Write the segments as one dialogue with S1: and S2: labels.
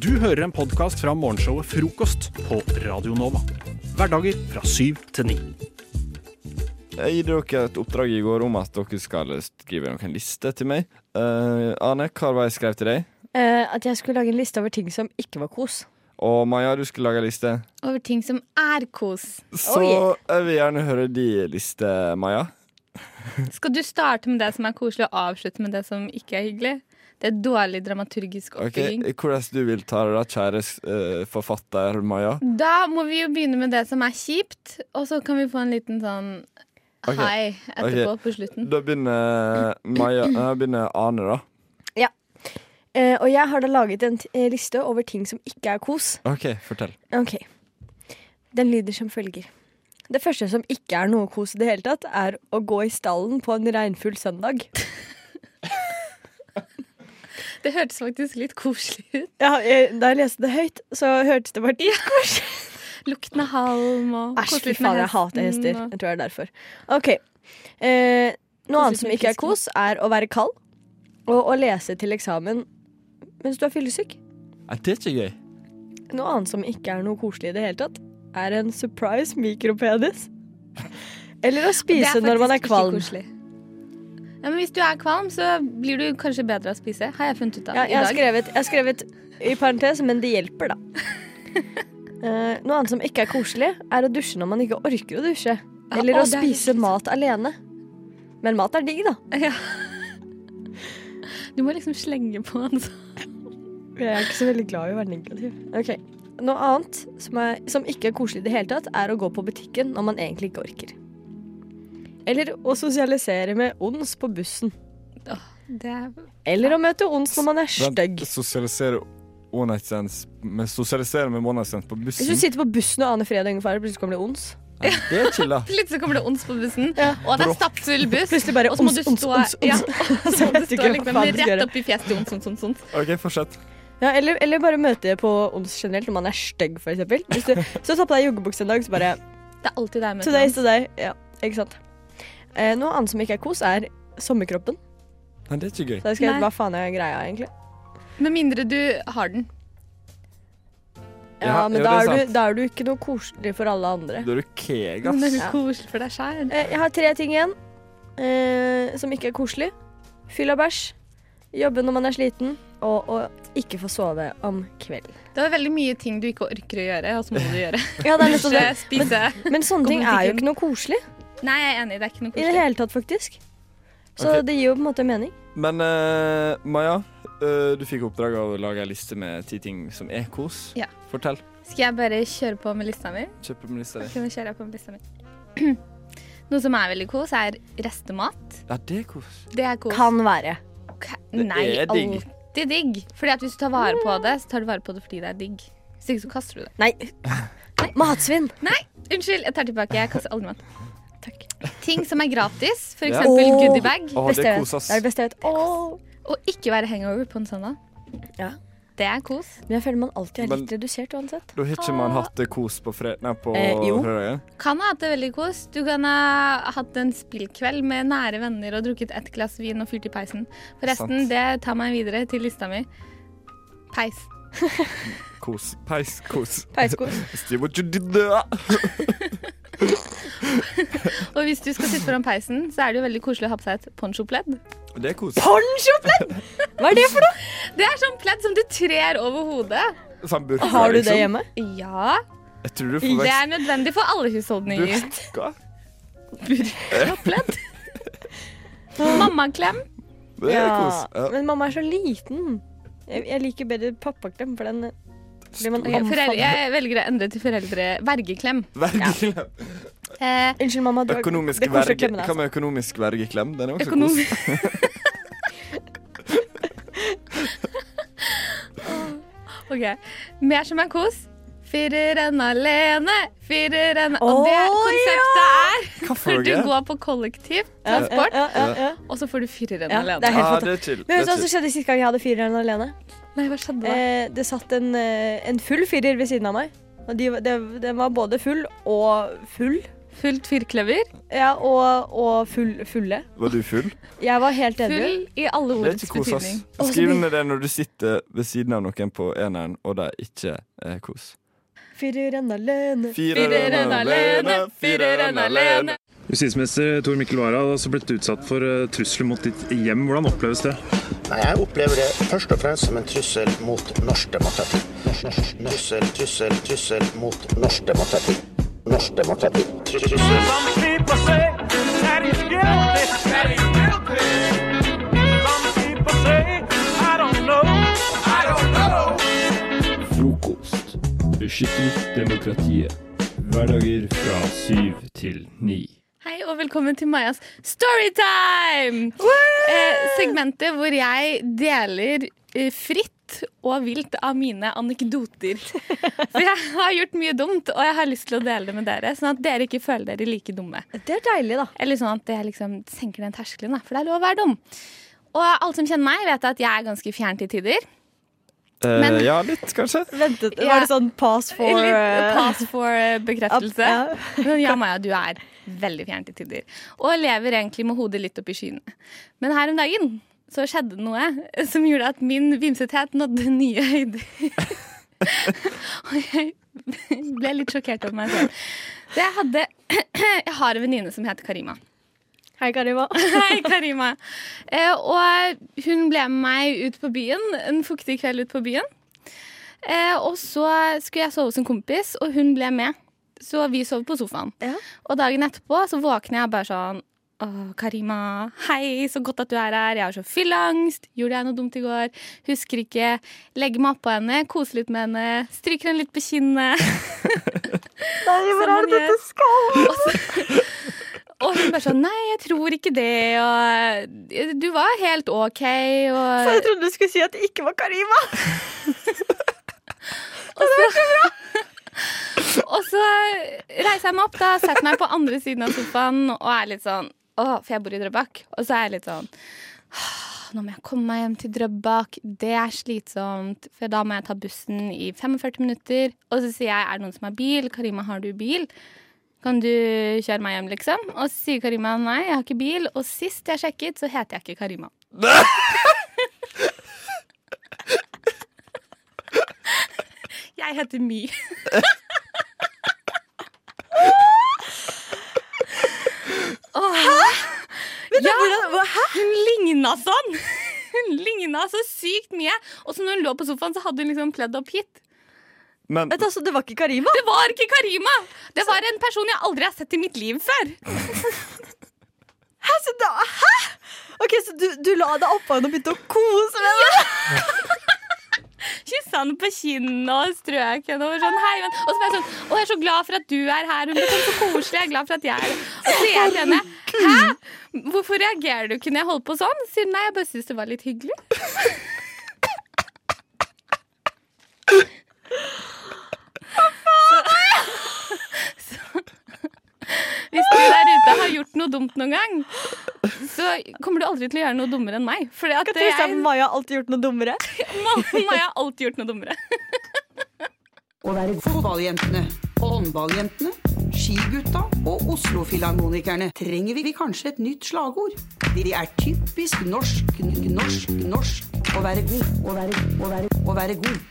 S1: Du hører en podkast fra morgenshowet Frokost på Radio Nova. Hverdager fra syv til ni.
S2: Jeg gir dere et oppdrag i går om at dere skal skrive noen liste til meg. Eh, Ane, hva var jeg skrev til deg?
S3: Eh, at jeg skulle lage en liste over ting som ikke var kos.
S2: Og Maja, du skulle lage en liste.
S4: Over ting som er kos.
S3: Oh,
S2: Så jeg vil gjerne høre de liste, Maja.
S4: Skal du starte med det som er koselig, og avslutte med det som ikke er hyggelig? Det er dårlig dramaturgisk
S2: Ok,
S4: oppbygging.
S2: Hvordan du vil ta det, da, kjære eh, forfatter Maja?
S4: Da må vi jo begynne med det som er kjipt, og så kan vi få en liten sånn
S2: Ok,
S4: hei etterpå på slutten.
S2: Da begynner Maja Da begynner Ane, da.
S3: Eh, og jeg har da laget en t eh, liste over ting som ikke er kos.
S2: OK, fortell.
S3: Ok. Den lyder som følger. Det første som ikke er noe kos i det hele tatt, er å gå i stallen på en regnfull søndag.
S4: Det hørtes faktisk litt koselig ut.
S3: Ja, eh, da jeg leste det høyt, så hørtes det bare koselig
S4: Lukten av halm og
S3: Æsj, fy
S4: koselig
S3: faen,
S4: med
S3: jeg hater
S4: hesten
S3: hester.
S4: og-
S3: Jeg tror det er derfor. Ok. Eh, noe annet som
S4: med
S3: ikke er
S4: fisken.
S3: kos, er å være kald og å lese til eksamen mens du er fyllesyk.
S2: Nei, det er ikke gøy.
S3: Noe annet som ikke er noe koselig i det hele tatt, er en surprise mikropenis. Eller å
S4: Det
S3: spise når man er
S4: faktisk ikke
S3: kvalm.
S4: koselig. Ja, men hvis du er kvalm, så blir du kanskje bedre av å spise. Har jeg funnet ut av
S3: Ja, jeg, har
S4: i dag.
S3: skrevet, jeg har skrevet i parentes, men det hjelper, da. Eh, noe annet som ikke er koselig, er å dusje når man ikke orker å dusje.
S4: Ja,
S3: Eller
S4: å,
S3: å
S4: det er
S3: spise
S4: litt-
S3: mat alene. Men mat er digg, da.
S4: Du må liksom slenge på en sånn.
S3: Jeg er ikke så veldig glad i å være negativ. Ok, Noe annet som, er, som ikke er koselig i det hele tatt, er å gå på butikken når man egentlig ikke orker. Eller å sosialisere med ons på bussen.
S4: Det er
S3: Eller å møte ons når man er
S2: Vent,
S3: stygg.
S2: Sosialisere one night stands med, sosialisere med one night stands på bussen.
S3: Hvis du sitter på bussen og aner fred og ingen fare, plutselig kommer det ons.
S2: Nei, det er chill, da.
S4: Plutselig kommer det ons på bussen,
S3: Ja.
S4: og det er stappfull buss.
S3: Plutselig bare
S4: Og så må
S3: ons,
S4: du
S3: ons,
S4: stå,
S3: ons, ons.
S4: ja, og så
S3: Jeg
S4: må
S3: vet
S4: du
S3: ikke
S4: stå
S3: hva
S4: liksom
S3: faen jeg skal
S4: rett
S3: gjøre.
S4: opp i fjeset til ons, ons, ons, ons.
S2: OK, fortsett.
S3: Ja, eller, eller bare møte på ons generelt når man er stygg, for eksempel. Hvis du, så ta på deg joggebukse en dag, så bare
S4: Det er alltid det jeg møter.
S3: Today's
S4: ons.
S3: today. Ja, ikke sant. Eh, noe annet som ikke er kos, er sommerkroppen.
S2: Nei, det er ikke gøy.
S3: Så jeg skrev
S4: Nei.
S3: hva faen er greia, egentlig.
S4: Med mindre du har den.
S3: Ja,
S2: Ja,
S3: men
S2: jo,
S3: da
S2: det er
S3: er,
S2: sant.
S3: du, da er du ikke noe koselig for alle andre.
S2: Da er du keeg,
S4: Men det
S2: ass.
S4: er jo koselig for deg sjæl.
S3: Eh, Jeg har tre ting igjen eh, som ikke er koselig. Fyll av bæsj, jobbe når man er sliten, og, og ikke få sove om kvelden.
S4: Det var veldig mye ting du ikke orker å gjøre, og så må du gjøre.
S3: Ja, det er nettopp det.
S4: Dusje, spise.
S3: Men sånne ting er jo ikke noe koselig
S4: Nei, jeg er enig, det er ikke noe
S3: i det
S4: koselig.
S3: hele tatt, faktisk. Så
S2: Ok.
S3: det gir jo på en måte mening.
S2: Men eh, Maja, eh, du fikk oppdrag av å lage ei liste med ti ting som er kos.
S4: Ja.
S2: Fortell.
S4: Skal jeg bare kjøre på med lista mi?
S2: Kjøp en liste.
S4: Ok, nå kjører jeg på med lista mi. Noe som er veldig kos, er restemat.
S2: Ja, det er kos.
S4: Det er kos.
S3: Kan være.
S4: Ka-
S2: Det
S4: Nei,
S2: er digg.
S4: alltid digg. Fordi at hvis du tar vare på det, så tar du vare på det fordi det er digg. Hvis ikke så kaster du det.
S3: Nei. Matsvinn.
S4: Unnskyld, jeg tar tilbake. Jeg kaster aldri mat.
S3: Takk.
S4: Ting som er gratis, f.eks.
S2: Ja.
S4: eksempel
S3: Åh.
S4: goodiebag.
S2: Å,
S3: Beste
S2: det er
S3: jeg vet.
S2: kos, ass.
S3: Det er det beste jeg vet. Åh.
S4: Og ikke være hangover på en søndag.
S3: Ja.
S4: Det er kos.
S3: Men jeg føler man alltid er
S2: Men-
S3: litt redusert uansett.
S2: Da har ikke man hatt det kos på, fred... Nei, på
S3: Ah. Eh, jo.
S2: fredagen.
S4: Kan ha hatt det veldig kos. Du kan ha hatt en spillkveld med nære venner og drukket ett glass vin og fyrt i peisen. Forresten,
S2: Sant.
S4: det tar meg videre til lista mi. Peis.
S2: Kos. Peiskos.
S3: Peiskos.
S2: See what you did there.
S4: Og hvis du skal sitte foran peisen, så er det jo veldig koselig å ha på seg et ponchopledd.
S2: Det er kos.
S3: Ponchopledd! Hva er det for noe?
S4: Det er sånn pledd som du trer over hodet.
S2: Sånn burka,
S3: Har du det
S2: liksom.
S3: hjemme?
S4: Ja,
S2: Jeg tror du
S4: det
S2: forveksler
S4: er nødvendig for alle husholdninger.
S2: burka.
S4: Burkapledd. Mammaklem.
S2: Det er kos. Ja.
S3: Men mamma er så liten. Jeg, jeg liker bedre pappaklem, for den blir man
S4: Ok, foreldre, jeg velger å endre til foreldre vergeklem.
S2: Vergeklem.
S4: Eh,
S3: Unnskyld, mamma. Du,
S2: Økonomisk
S3: det er koselig å
S2: verge.
S3: klemme deg, altså.
S2: Hva med økonomisk vergeklem? Den er også
S4: økonom...
S2: kos.
S4: ok, mer som er kos. Fireren alene, fireren Og
S3: Å,
S4: det konseptet er
S2: Hva
S4: for
S2: for
S4: du
S2: noe?
S4: går på kollektiv
S3: Ja,
S4: transport,
S3: Ja, ja, ja, ja.
S4: og så får du fireren
S3: Ja, det
S4: alene.
S3: er helt
S2: Ja,
S3: fantastisk.
S2: det er chill.
S3: Men
S2: Det
S3: vet du hva som
S2: er chill.
S3: skjedde sist gang jeg hadde fireren alene?
S4: Nei, hva skjedde da?
S3: Eh, det satt en, eh, en full firer ved siden av meg. Og de, var- det- den var både full og full.
S4: Fullt firkløver.
S3: Ja, og, og full, fulle.
S5: Var du full?
S3: Jeg var helt enig.
S4: Full i alle
S5: Det er
S4: ordets
S5: ikke kos, ass.
S4: betydning.
S3: Å, så
S5: Skriv
S3: mye.
S5: ned det når du sitter ved siden av noen på eneren, og det er ikke eh, kos.
S3: Fyrer en alene.
S4: Fyrer en alene, fyrer en alene.
S6: Justisminister Tor Mikkel Wara har også blitt utsatt for eh, trusler mot ditt hjem. Hvordan oppleves det?
S7: Nei, Jeg opplever det først og fremst som en trussel mot norsk demokrati. Norsk, norsk, trussel, trussel, trussel mot norsk demokrati. Norsk demokrati. Trussel.
S8: Some people say that he's guilty. That he's guilty. Some people say I don't know. I don't know.
S2: Frokost. Beskytter demokratiet. Hverdager fra syv til ni.
S4: Hei og velkommen til Majas Storytime! Eh, segmentet hvor jeg deler eh, fritt og vilt av mine anekdoter. For jeg har gjort mye dumt, og jeg har lyst til å dele det med dere. Sånn at dere ikke føler dere like dumme.
S3: Det er deilig, da.
S4: Eller sånn at det liksom senker den terskelen, da, for det er lov å være dum. Og alle som kjenner meg, vet at jeg er ganske fjern til tider.
S5: Eh,
S4: Men-
S5: ja, litt, kanskje.
S3: Ventet,
S4: Ja.
S3: Var det sånn pass for
S4: Litt
S3: eh,
S4: pass for eh,
S3: up-
S4: bekreftelse.
S3: ja.
S4: Men ja, Maja, du er veldig fjern til tider. Og lever egentlig med hodet litt opp i skyene. Men her om dagen så skjedde det noe som gjorde at min vimsethet nådde nye høyder. Og jeg ble litt sjokkert over meg selv. Så jeg hadde Jeg har en venninne som heter Karima.
S3: Hei, Karima.
S4: Hei, Karima. Eh, og hun ble med meg ut på byen, en fuktig kveld ut på byen. Eh, og så skulle jeg sove hos en kompis, og hun ble med. Så vi sov på sofaen.
S3: Ja.
S4: Og dagen etterpå så våkner jeg bare sånn Åh, Karima. Hei, så godt at du er her. Jeg har så fyllangst. Gjorde jeg noe dumt i går? Husker ikke. Legger meg oppå henne, koser litt med henne. Stryker henne litt på kinnet.
S3: Nei, hvor
S4: Som
S3: er
S4: man
S3: det dette skal?
S4: Og hun bare sånn Nei, jeg tror ikke det. Og du var helt OK. Og
S3: Så jeg trodde du skulle si at det ikke var Karima.
S4: Og så reiser jeg meg opp, da, setter meg på andre siden av sofaen og er litt sånn Å, for jeg bor i Drøbak. Og så er jeg litt sånn «Åh, Nå må jeg komme meg hjem til Drøbak. Det er slitsomt, for da må jeg ta bussen i 45 minutter. Og så sier jeg er det noen som har bil? Karima, har du bil? Kan du kjøre meg hjem, liksom? Og så sier Karima nei, jeg har ikke bil. Og sist jeg sjekket, så heter jeg ikke Karima. Jeg heter My. Hæ? Ja, Hun ligna sånn! Hun ligna så sykt mye. Og så når hun lå på sofaen, så hadde hun liksom pledd opp hit.
S5: Men
S3: Vent, altså, det var ikke Karima?
S4: Det var ikke Karima! Det var en person jeg aldri har sett i mitt liv før.
S3: Hæ? Så da, hæ? Ok, så du, du la deg oppå henne og begynte å kose med henne?
S4: Kyssa henne på kinnet og strøk henne over sånn hei. venn». Og så ble jeg sånn Å, jeg er så glad for at du er her. Hun ble sånn så koselig. Jeg er glad for at jeg er her. Og så sier jeg til henne Hæ? Hvorfor reagerer du ikke når jeg holder på sånn? Sier hun nei, jeg bare syns det var litt hyggelig. Så- så- Hvis du der ute har gjort noe dumt noen gang, så kommer du aldri til å gjøre noe dummere enn meg. Fordi at
S3: Kan trøste deg med
S4: jeg,
S3: Maja har alltid gjort noe dummere.
S4: Maja har alltid gjort noe dummere.
S9: Å være fotballjentene, håndballjentene, skigutta og Oslo-filharmonikerne trenger vi kanskje et nytt slagord. De er typisk norsk, n- norsk, norsk å være god, å være, å være, å være god.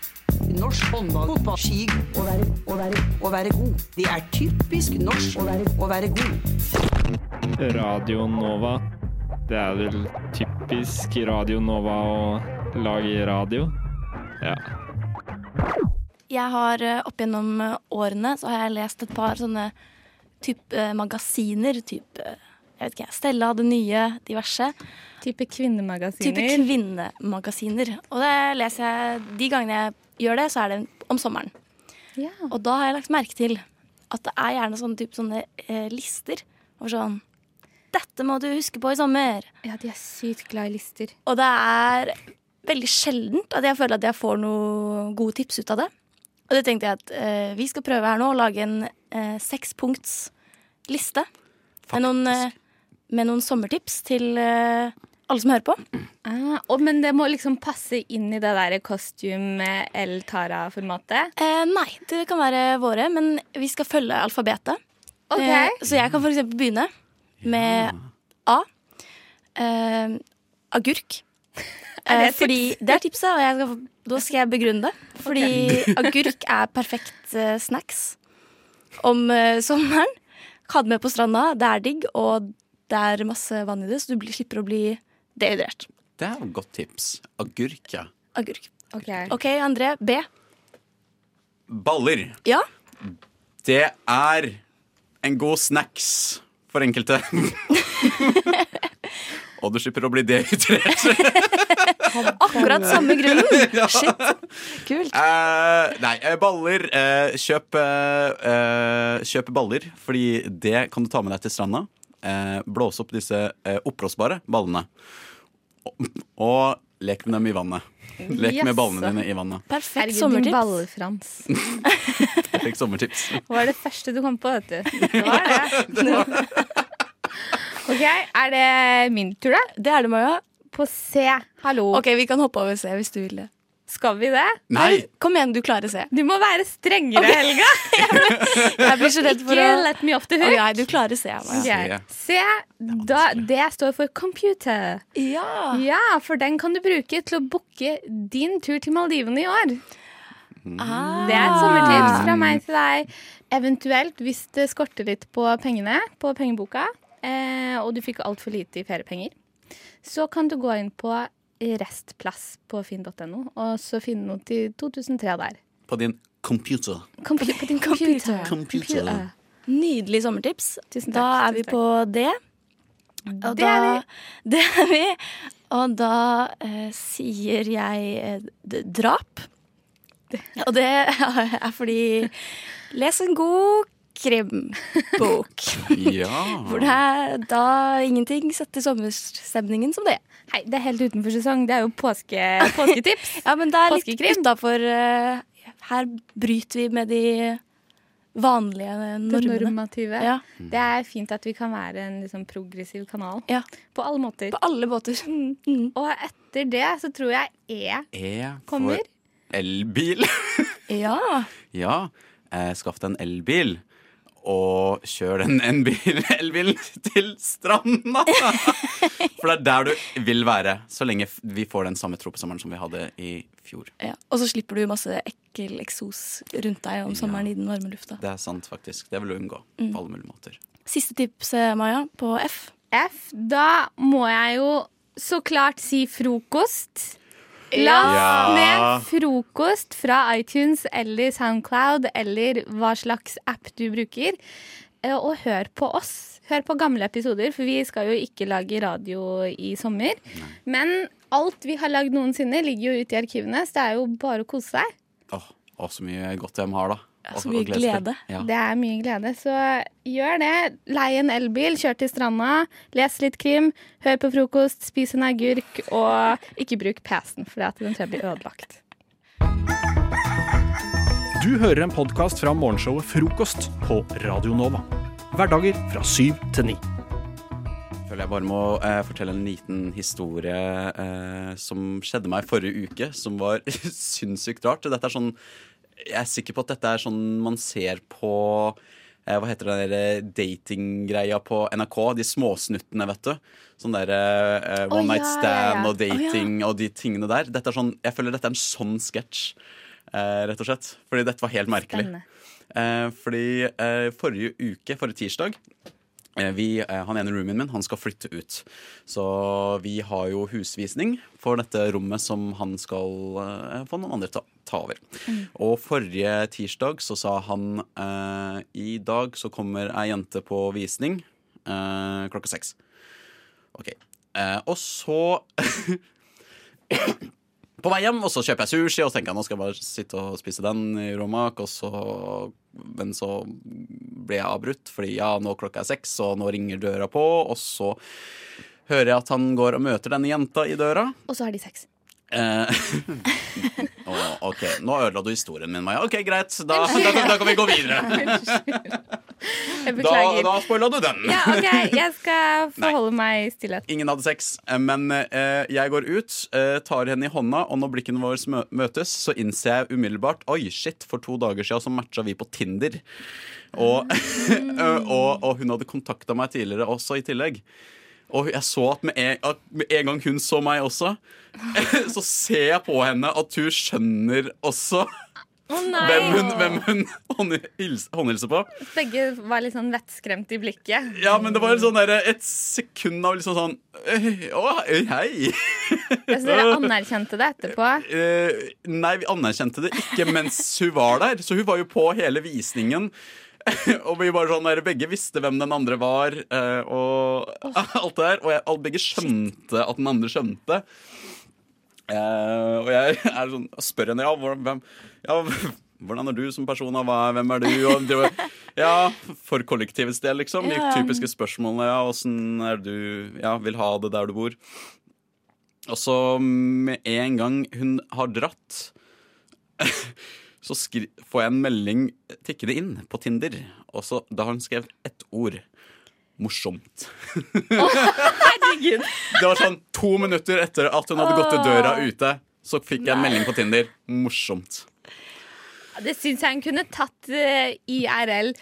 S9: Norsk håndball, fotball, ski, å være, å være, å være god. Det er typisk norsk å være, å være god.
S2: Radio Nova. Det er vel typisk Radio Nova å lage radio. Ja.
S10: Jeg har eh, opp gjennom eh, årene så har jeg lest et par sånne typ eh, magasiner. Typ, eh, jeg vet ikke, Stella hadde nye, diverse.
S4: Type
S10: Type
S4: kvinnemagasiner.
S10: kvinnemagasiner. Og det leser jeg, de gangene jeg gjør det, så er det om sommeren.
S4: Ja.
S10: Og da har jeg lagt merke til at det er gjerne sånne, typ, sånne eh, lister over sånn Dette må du huske på i sommer.
S4: ja, de er sykt glad i lister.
S10: Og det er veldig sjeldent at jeg føler at jeg får noen gode tips ut av det. Og det tenkte jeg at eh, vi skal prøve her nå å lage en eh, sekspunkts liste med noen, eh, med noen sommertips til eh, alle som hører på.
S4: Ah, og, men det må liksom passe inn i det der costume El Tara-formatet.
S10: Eh, nei, det kan være våre, men vi skal følge alfabetet.
S4: Ok.
S10: Eh, Så jeg kan for eksempel begynne med A. Eh, agurk.
S4: Er det
S10: Eh,
S4: et tips?
S10: fordi Det er tipset, og jeg skal, da skal jeg begrunne det. Fordi agurk er perfekt eh, snacks om eh, sommeren. Ha det med på stranda, det er digg, og det er masse vann i det, så du blir, slipper å bli dehydrert.
S11: Det er et godt tips. Agurk, ja.
S10: Agurk.
S4: Ok,
S10: André. B.
S11: Baller.
S10: Ja?
S11: Det er en god snacks for enkelte. Og du slipper å bli dehydrert.
S10: Akkurat samme grunnen.
S11: Ja.
S10: Shit. Kult.
S11: Eh, nei, eh, baller. eh, kjøp, eh, eh, kjøp baller, fordi det kan du ta med deg til stranda. Eh, blåse opp disse eh, oppblåsbare ballene. Og, og lek med dem i vannet. Lek med
S4: Jaså.
S11: ballene dine i vannet.
S10: Perfekt
S4: Herregud,
S10: sommertips.
S4: Din ballefrans.
S11: Jeg fikk sommertips.
S4: Hva er det første du kom på, vet du? Det var det. OK, er det min tur, da?
S10: Det er det, Maja.
S4: På C. Hallo.
S10: Ok, vi kan hoppe over C hvis du vil det.
S4: Skal vi det?
S11: Nei!
S10: Kom igjen, du klarer C.
S4: Du må være strengere,
S10: Ok.
S4: Helga.
S10: Jeg blir så redd for å
S4: Ikke let me off the hook.
S10: Ok, Nei, du klarer C. Maja.
S11: Se.
S4: Se, da, det står for computer.
S10: Ja.
S4: Ja, for den kan du bruke til å booke din tur til Maldivene i år. Det er et sommertips fra meg til deg. Eventuelt, hvis det skorter litt på pengene, på pengeboka, eh, og du fikk altfor lite i feriepenger, så kan du gå inn på Restplass på finn.no, og så finne noe til 2003 der.
S11: På din computer.
S4: Compu på din computer.
S11: Computer.
S10: Nydelig sommertips.
S4: Tusen takk,
S10: Da er vi
S4: tusen takk.
S10: på det. Og
S4: Det er
S10: da- Det er vi. Og da eh, sier jeg eh, d- drap. Og det er fordi Les en god krimbok. Hvor det
S11: Ja.
S10: er da ingenting setter sommerstemningen som det.
S4: Hei, det er helt utenfor sesong. Det er jo påske, påsketips.
S10: Ja, men det er litt
S4: Påskekrim.
S10: utafor Her bryter vi med de vanlige
S4: Det
S10: normene.
S4: normative.
S10: Ja,
S4: Det er fint at vi kan være en liksom, progressiv kanal.
S10: Ja.
S4: På alle måter.
S10: på alle båter. Mm.
S4: Og etter det så tror jeg E
S11: E for
S4: kommer.
S11: elbil.
S10: Ja.
S11: Ja, eh, skaff deg en elbil. Og kjør den en bil- elbilen til stranda! For det er der du vil være, så lenge f- vi får den samme tropesommeren som vi hadde i fjor.
S10: Ja. Og så slipper du masse ekkel eksos rundt deg om sommeren i den varme lufta.
S11: Det er sant, faktisk. Det vil du unngå
S10: Mm.
S11: på alle mulige måter.
S10: Siste tips, eh, Maja, på F.
S4: F. Da må jeg jo så klart si frokost.
S11: Ja.
S4: Last ned frokost fra iTunes eller Soundcloud eller hva slags app du bruker. Eh, Og hør på oss. Hør på gamle episoder, for vi skal jo ikke lage radio i sommer. Men alt vi har lagd noensinne, ligger jo ute i arkivene, så det er jo bare å kose seg.
S11: Åh, åh, så mye godt de har, da.
S10: Ja,
S11: Åh,
S10: så mye
S11: å glede seg til.
S10: glede.
S11: Ja.
S4: Det er mye glede, så gjør det. Lei en elbil, kjør til stranda, les litt krim, hør på frokost, spis en agurk, og ikke bruk PC-en, for det at den tror jeg blir ødelagt.
S1: Du hører en podkast fra morgenshowet Frokost på Radio Nova. Hverdager fra syv til ni.
S11: føler jeg bare må eh, fortelle en liten historie eh, som skjedde meg forrige uke, som var sinnssykt rart. Dette er sånn, jeg er sikker på at dette er sånn man ser på eh, Hva heter den der datinggreia på NRK? De småsnuttene, vet du. Sånn der eh,
S4: Å,
S11: One
S4: ja,
S11: Night
S4: ja,
S11: Stand
S4: ja.
S11: og dating og de tingene der. Dette er sånn, jeg føler dette er en sånn sketsj, eh, rett og slett. Fordi dette var helt merkelig.
S4: Spennende.
S11: Eh, fordi eh, forrige uke, forrige tirsdag eh, vi, eh, han ene roomien min han skal flytte ut. Så vi har jo husvisning for dette rommet som han skal eh, få noen andre ta, ta over. Og forrige tirsdag så sa han eh, i dag så kommer ei jente på visning eh, klokka seks. Ok. Eh, og så på vei hjem, og så kjøper jeg sushi, og så tenker jeg nå skal jeg bare sitte og spise den i Romak, og så Men så blir jeg avbrutt, fordi ja, nå klokka er seks, og nå ringer døra på, og så hører jeg at han går og møter denne jenta i døra.
S4: Og så har de sex.
S11: Eh, å, OK, nå ødela du historien min, Maja. OK, greit, da, da, da kan vi gå videre.
S4: Jeg
S11: Da,
S4: beklager.
S11: da spoila du den.
S4: Ja, OK, jeg skal forholde meg i stillhet.
S11: Ingen hadde sex, eh, men eh, jeg går ut, eh, tar henne i hånda, og når blikkene våre mø- møtes, så innser jeg umiddelbart Oi, shit, for to dager siden så matcha vi på Tinder. Og, eh, og, og hun hadde kontakta meg tidligere også, i tillegg. Og jeg så at med en, at med en gang hun så meg også, så ser jeg på henne at hun skjønner også
S4: Å
S11: hvem hun, hvem hun håndhils- håndhilser på.
S4: Begge var litt sånn vettskremt i blikket.
S11: Ja, men det var en sånn der, et sekund av liksom sånn «Øy, Å, øy, hei!
S4: Jeg synes dere anerkjente det etterpå.
S11: Eh, nei, vi anerkjente det ikke mens hun var der, så hun var jo på hele visningen. og vi bare sånn der, Begge visste hvem den andre var, eh, og alt det der. Og jeg, alle begge skjønte at den andre skjønte. Eh, og jeg er sånn, jeg spør henne ja, hvordan, hvem, ja, hvordan er du som person, og hva, hvem er du? Og, det var- ja, For kollektivets del, liksom. De
S12: Ja.
S11: typiske spørsmålene. Ja, Åssen er du ja, vil ha det der du bor? Og så med en gang hun har dratt, så skri får jeg en melding tikkende inn på Tinder. Og så, da har hun skrevet ett ord. Morsomt.
S4: Herregud.
S11: Det var sånn to minutter etter at hun hadde gått til døra ute, så fikk jeg en
S4: Nei.
S11: melding på Tinder. Morsomt.
S4: Det syns jeg hun kunne tatt eh, IRL.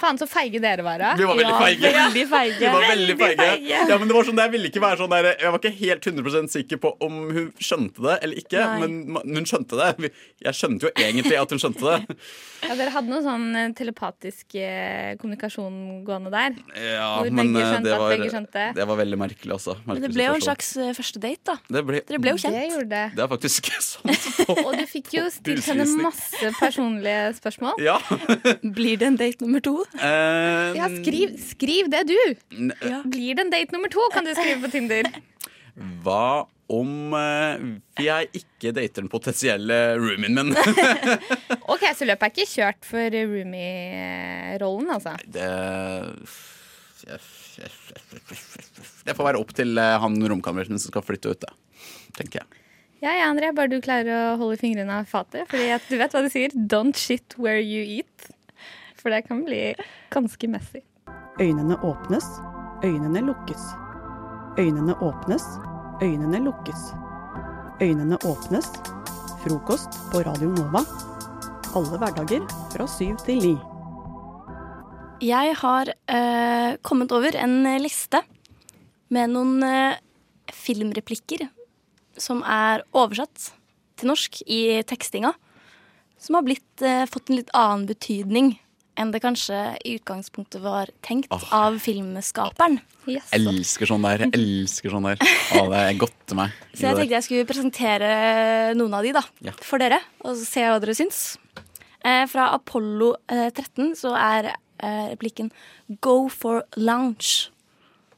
S4: Faen, så feige dere var. da.
S11: Vi var veldig
S4: Ja,
S11: feige.
S4: veldig feige.
S11: Vi var veldig feige.
S4: feige.
S11: Ja, men det var sånn, der, jeg ville ikke være sånn der Jeg var ikke helt 100 sikker på om hun skjønte det eller ikke,
S4: Nei.
S11: men ma- hun skjønte det. Vi- Jeg skjønte jo egentlig at hun skjønte det.
S4: Ja, dere hadde noe sånn eh, telepatisk eh, kommunikasjon gående der.
S11: Ja,
S4: Hvor
S11: men
S4: begge
S11: eh,
S4: skjønte
S11: det
S4: at
S11: var,
S4: begge skjønte.
S11: det var veldig merkelig, altså.
S10: Men det
S11: Merkelig
S10: ble jo en
S11: situasjon.
S10: slags eh, første date, da.
S11: det ble,
S10: Dere ble jo kjent.
S4: Det gjorde det.
S11: Det er faktisk sånn.
S4: Og du fikk jo stilt henne
S11: Husvisning.
S4: masse personlige spørsmål.
S11: Ja.
S4: Blir det en date nummer to?
S11: Eh,
S4: Ja, skriv, skriv det, du!
S11: n- eh,
S4: Blir det en date nummer to, kan du skrive på Tinder.
S11: Hva om eh, jeg ikke dater den potensielle roomien min?
S4: OK, så løpet er ikke kjørt for roomie-rollen, altså.
S11: Det Det får være opp til eh, han romkameraten som skal flytte ut, da. Tenker jeg.
S4: Ja, ja, André, bare du klarer å holde fingrene av fatet. Fordi at du vet hva de sier. Don't shit where you eat. For det kan bli ganske messy.
S13: Øynene åpnes, øynene lukkes. Øynene åpnes, øynene lukkes. Øynene åpnes. Frokost på Radio Nova. Alle hverdager fra syv til ni.
S10: Jeg har eh, kommet over en liste med noen eh, filmreplikker som er oversatt til norsk i tekstinga. Som har blitt, eh, fått en litt annen betydning enn det kanskje i utgangspunktet var tenkt av filmskaperen.
S11: Elsker sånn der. Elsker sånn der. Å, det er godt til meg.
S10: Så jeg tenkte jeg skulle presentere eh, noen av de da,
S11: Ja.
S10: for dere, og se hva dere syns. Eh, fra Apollo eh, 13 så er eh, replikken 'Go for lounge'.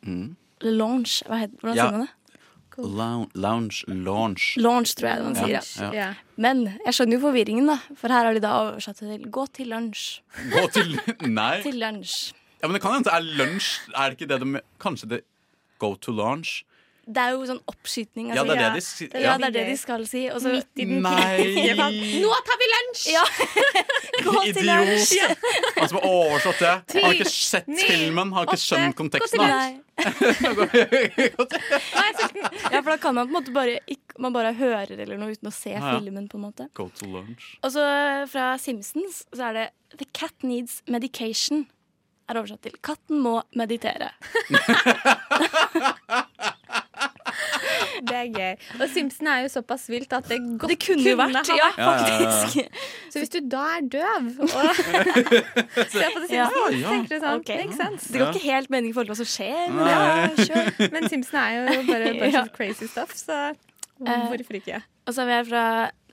S11: Mm.
S10: Eller lounge, hva heter, hvordan
S11: Ja.
S10: sier man det?
S11: Lou- Lounge. Launch.
S10: Lounge, tror jeg man sier. Ja. Men jeg skjønner jo forvirringen, da. For her har de da oversatt det til 'gå til lunsj'.
S11: Gå til Nei.
S10: Til lunsj.
S11: Ja, men det kan hende det er lunsj. Er det ikke det de Kanskje det Go to launch?
S10: Det er jo sånn oppskyting.
S11: Ja, det er det de si-
S10: ja.
S11: ja.
S10: det er det de skal si. Og så
S11: Midt i den Nei. kritiske fasen.
S10: Nå tar vi lunsj! Ja. Gå til lunsj.
S11: Idiot! Han som har oversatt det. Han har ikke
S10: Ti,
S11: sett
S10: ni,
S11: filmen, har ikke
S10: åtte,
S11: skjønt konteksten. hans.
S10: Ja, for da kan man på en måte bare ikke, Man bare hører eller noe uten å se
S11: Ja, ja.
S10: filmen, på en måte.
S11: Go to launch.
S10: Og så fra Simpsons så er det 'The cat needs medication'. Er oversatt til 'Katten må meditere'.
S4: Det er gøy. Og Simpson er jo såpass vilt at det godt
S10: Det kunne jo vært,
S4: ha
S10: ja,
S11: Ja, ja, ja, ja. faktisk.
S4: Så hvis du da er døv og ser på det Simpsons,
S10: Ja.
S4: så tenker du sånn Makes sense.
S10: Det går ikke helt mening i forhold til hva som skjer. Men,
S4: Nei.
S10: ja, sure.
S4: Men Simpson er jo bare a bunch
S10: Ja.
S4: of crazy stuff, så
S10: Eh,
S4: hvorfor ikke?
S10: Og så er vi her fra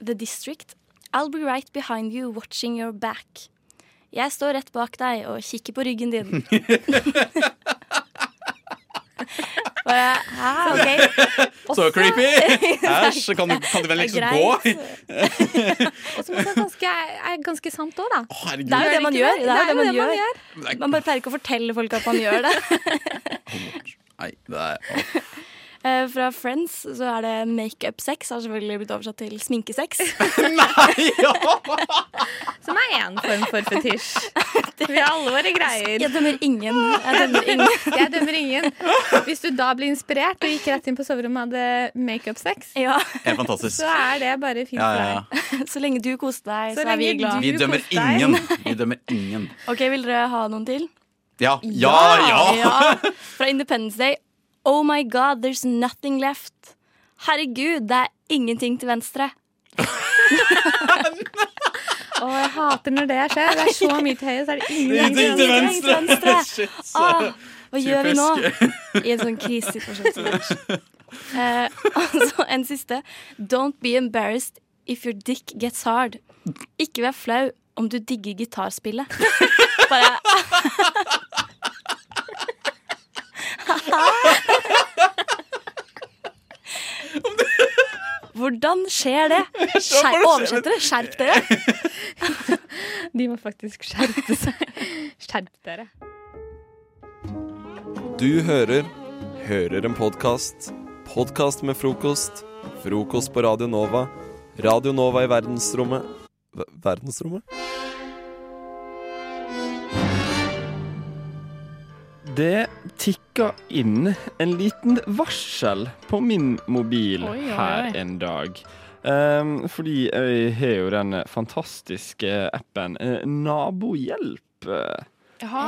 S10: The District. I'll be right behind you watching your back. Jeg står rett bak deg og kikker på ryggen din. Bare, hæ,
S4: Sånn.
S10: ok.
S11: Så creepy! Æsj, kan, du- kan du vel
S4: Det er
S11: liksom gå?
S4: Og som også er ganske, er ganske sant òg, da.
S11: herregud.
S10: Det er jo det man
S4: ikke
S10: gjør. Det er jo det man
S4: man
S10: gjør. Man bare pleier ikke å fortelle folk at man gjør det.
S11: Nei, det er
S10: Eh, Fra Friends så er det makeup-sex. Har selvfølgelig blitt oversatt til sminkesex.
S11: Nei!
S4: Som er én form for fetisj. Vi har alle våre greier.
S10: Jeg dømmer ingen. Jeg dømmer ingen.
S4: Jeg dømmer ingen. Hvis du da blir inspirert og gikk rett inn på soverommet og hadde makeup-sex,
S11: Helt fantastisk.
S4: så er det bare fint
S11: Ja,
S4: for
S11: ja, ja.
S4: deg.
S10: Så lenge du koste deg,
S4: Så
S10: så, er vi
S4: lenge
S10: glad.
S11: Vi dømmer ingen. Vi dømmer ingen.
S10: Ok, Vil dere ha noen til?
S11: Ja, ja, ja!
S10: ja. Fra Independence Day. Oh my god, there's nothing left. Herregud, det er ingenting til venstre.
S4: Og jeg hater når det skjer. Det er så mye til høyre, så er det
S10: Ingenting
S4: ingenting
S10: til venstre.
S4: Shit, så
S10: Ah, hva gjør vi nå?
S4: typisk.
S10: I en sånn krisesituasjon som det er. Eh, og så en siste. Don't be embarrassed if your dick gets hard. Ikke vær flau om du digger gitarspillet. Bare Hvordan skjer det? Skjer, oversettere, skjerp dere!
S4: De må faktisk skjerpe seg. Skjerp dere.
S5: Du hører Hører en podkast. Podkast med frokost. Frokost på Radio Nova. Radio Nova i verdensrommet Ver- Verdensrommet?
S2: Det tikka inn en liten varsel på min mobil
S8: Oi, oi, oi.
S2: her en dag. Ehm, fordi jeg har jo den fantastiske appen eh, Nabohjelp.
S8: Jaha.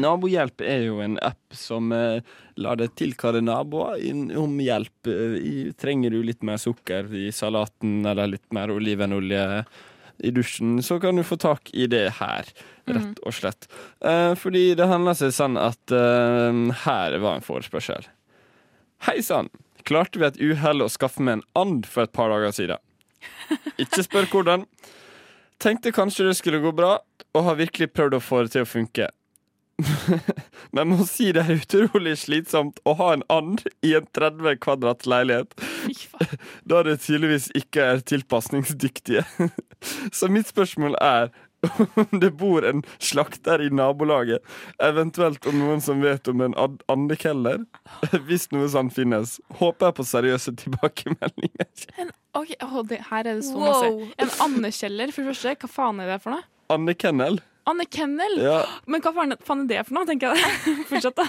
S2: Nabohjelp er jo en app som eh, lar deg tilkalle naboer inn- om hjelp. Eh, i- Trenger du litt mer sukker i salaten eller litt mer olivenolje eh, i dusjen, så kan du få tak i det her, rett og slett. Eh, Fordi det handler seg sånn at eh, her var en forespørsel. Hei sann! Klarte ved et uhell å skaffe meg en and for et par dager siden. Ikke spør hvordan. Tenkte kanskje det skulle gå bra, og har virkelig prøvd å få det til å funke. Men må si det er utrolig slitsomt å ha en and i en 30 kvadrat leilighet. Da det tydeligvis ikke er tilpasningsdyktige. Så mitt spørsmål er om det bor en slakter i nabolaget, eventuelt om noen som vet om en ad- andekeller, hvis noe sånt finnes. Håper jeg på seriøse tilbakemeldinger.
S12: En, ok, åh, det, her er det så
S8: Wow.
S12: masse. En andekjeller, for det første. Hva faen er det for noe?
S2: Andekennel.
S12: Anne Kennel!
S2: Ja.
S12: Men hva faen faen er det for noe, tenker jeg. Fortsatt, da.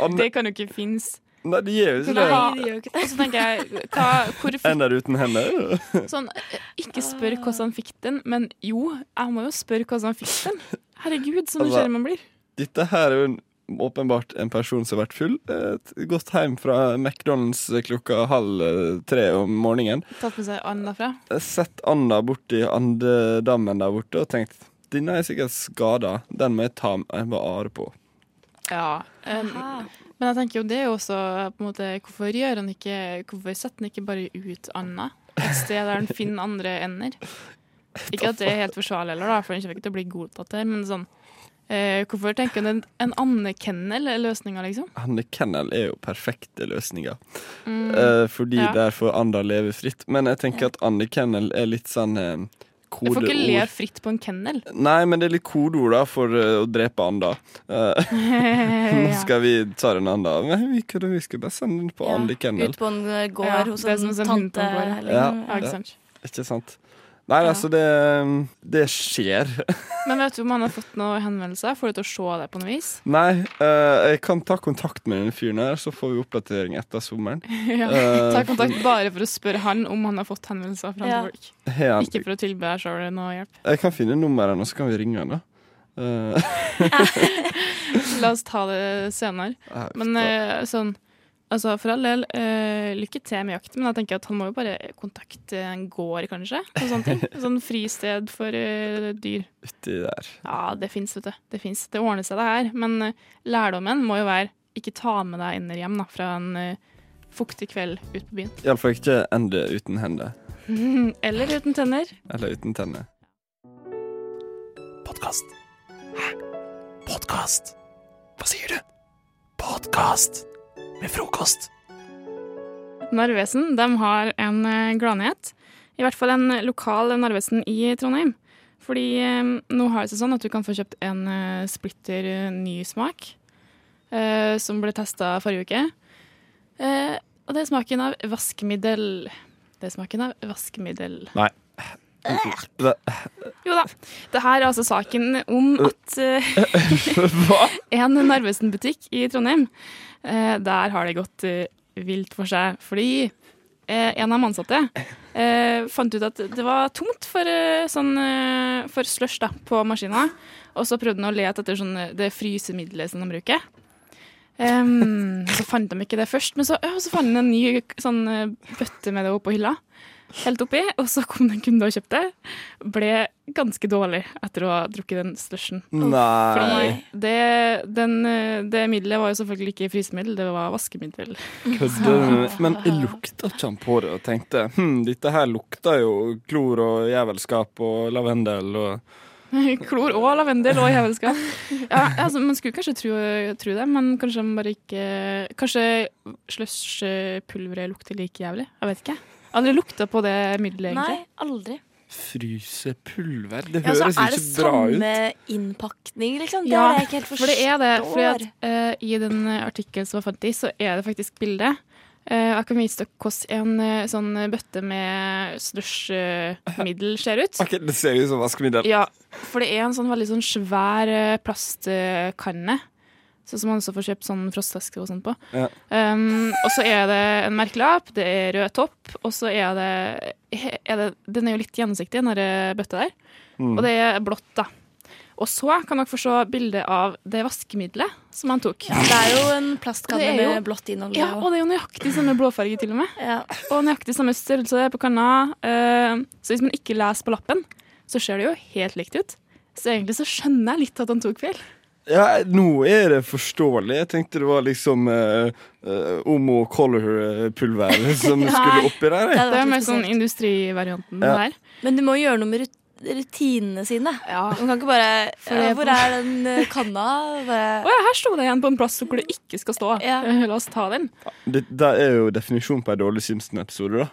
S2: Anne-
S12: Det kan jo ikke finnes.
S2: Nei, de gjør jo ikke det.
S12: Nei, det gjør jo ikke det. Og så tenker jeg, hva, hvor fikk
S2: En der uten hender.
S12: Sånn, ikke spør hvordan han fikk den, men jo, jeg må jo spørre hvordan han fikk den. Herregud, så nysgjerrig man blir.
S2: Dette her er jo en, åpenbart en person som har vært full. eh, Gått hjem fra McDonald's klokka halv eh, tre om morgenen.
S12: Tatt med seg and derfra.
S2: Sett anda borti andedammen der borte og tenkt denne er sikkert skada. Den må jeg ta jeg må are på.
S12: Ja. em, men jeg tenker jo det er jo også på en måte, Hvorfor gjør han ikke Hvorfor setter han ikke bare ut anda et sted der han finner andre ender? Ikke at det er helt forsvarlig heller, da, for han kommer ikke til å bli godtatt her, men sånn eh, Hvorfor tenker han en, en andekennel er løsninga, liksom?
S2: Andekennel er jo perfekte løsninger,
S12: Mm.
S2: Eh, fordi
S12: Ja.
S2: der får anda leve fritt. Men jeg tenker at andekennel er litt sånn eh,
S12: Du får ikke le
S2: kodeord.
S12: fritt på en kennel.
S2: Nei, men det er litt kodeord da for eh, å drepe anda. Eh, Nå
S12: Ja.
S2: skal vi ta den andre. Men vi kunne vi skulle bare sende den på Andy Kennel.
S10: Ut på en eh, gård
S12: Ja,
S10: hos
S12: det er
S10: en
S12: som en hund på
S10: tante.
S12: en gård.
S10: eller-
S2: Ja,
S12: Ja, ikke sant.
S2: Ikke sant? Nei, altså, det, det skjer.
S12: Men vet du om han har fått noen henvendelser? Får du til å se det på noe vis?
S2: Nei, eh, jeg kan ta kontakt med den fyren her, så får vi oppdatering etter sommeren.
S12: ja.
S2: Eh,
S12: Ta kontakt bare for å spørre han om han har fått henvendelser fra andre
S10: Ja.
S12: folk.
S2: for- Har han-
S12: Ikke for å tilby deg sjøl noe hjelp.
S2: Jeg kan finne nummeret, og så kan vi ringe han, da. Eh,
S12: La oss ta det senere.
S2: Ja, vi
S12: Men
S2: får
S12: eh, sånn Altså, for all del, eh, lykke til med jakten, men jeg tenker at han må jo bare kontakte en gård, kanskje? Og sånne ting. Sånn fristed for eh, dyr.
S2: uti der.
S12: Ja, det fins, vet du. Det finnes. Det ordner seg, det her. Men eh, lærdommen må jo være ikke ta med deg ender hjem da, fra en eh, fuktig kveld ute på byen.
S2: Iallfall ikke ende uten hender.
S12: Eller uten tenner.
S2: Eller uten tenner.
S8: Podkast. Hæ? Podkast? Hva sier du? Podkast med frokost.
S12: Narvesen de har en eh, gladnyhet. I hvert fall en lokal Narvesen i Trondheim. Fordi eh, nå har det seg sånn at du kan få kjøpt en eh, splitter eh, ny smak, eh, som ble testa forrige uke. Eh, og det er smaken av Eh. vaskemiddel. Det er smaken av vaskemiddel.
S2: Nei.
S12: Jo da. Det her er altså saken om at eh, Hva? en Narvesen-butikk i Trondheim, eh, der har det gått eh, vilt for seg. Fordi eh, en av de ansatte eh, fant ut at det var tomt for, eh, sånn, eh, for slush da, på maskina. Og så prøvde han å lete etter sånn, det frysemiddelet som de bruker. Ehm, så fant de ikke det først, men så, ja, så fant de en ny sånn, eh, bøtte med det oppå hylla. Helt oppi, og så kom det en kunde og kjøpte. Ble ganske dårlig etter å ha drukket den slushen.
S5: Nei.
S12: Fordi det, den, eh, det middelet var jo selvfølgelig ikke frysemiddel, det var vaskemiddel.
S2: Kødder du? med- Men jeg lukta ikke han på det og tenkte hm, dette her lukta jo klor og jævelskap og lavendel og
S12: Klor og lavendel og jævelskap. Ja, altså, man skulle kanskje tro, tro det, men kanskje de bare ikke Kanskje slushpulveret lukter like jævlig? Jeg vet ikke. Aldri lukta på det middelet, egentlig.
S10: Nei, aldri.
S2: Frysepulver? Det
S10: Ja, så
S2: høres
S10: er det
S2: ikke bra ut.
S10: samme innpakning, liksom? Det
S12: Ja,
S10: er det jeg ikke helt
S12: for
S10: forstår.
S12: det er det. Fordi at, eh, I den artikkelen som jeg fant i, så er det faktisk bilde. Eh, jeg kan vise dere hvordan en eh, sånn bøtte med slushmiddel ser ut.
S2: Ok, Det ser ut som vaskemiddel.
S12: Ja, for det er en sånn veldig sånn svær eh, plastkanne. Sånn som man også får kjøpt sånn frostveske og sånt på.
S2: Ja.
S12: Um, og så er det en merkelapp, det er rød topp, og så er det, er det Den er jo litt gjennomsiktig, den der eh, bøtta der.
S10: Mm.
S12: Og det er blått, da. Og så kan dere få se bilde av det vaskemiddelet som han tok.
S10: Det er jo en plastkanne
S12: Det er jo-
S10: med blått innhold.
S12: Ja, og det er jo nøyaktig samme blåfarge til og med. Og nøyaktig samme størrelse på kanna. Eh, Så hvis man ikke leser på lappen, så ser det jo helt likt ut. Så egentlig så skjønner jeg litt at han tok feil.
S2: Ja, nå er det forståelig. Jeg tenkte det var liksom uh, Omo Color-pulver eh, som
S10: Nei,
S2: skulle oppi der. jeg.
S12: Det er mer sånn industrivarianten
S2: Ja.
S12: der.
S10: Men du må gjøre noe med rut- rutinene sine. Du kan ikke bare
S12: For
S10: ja,
S12: det-
S10: Hvor er den eh, kanna? Bare
S12: Å ja, her sto det igjen på en plass hvor det ikke skal stå. Eh, La oss ta den.
S2: Det, det er jo definisjonen på en dårlig Simpson-episode. da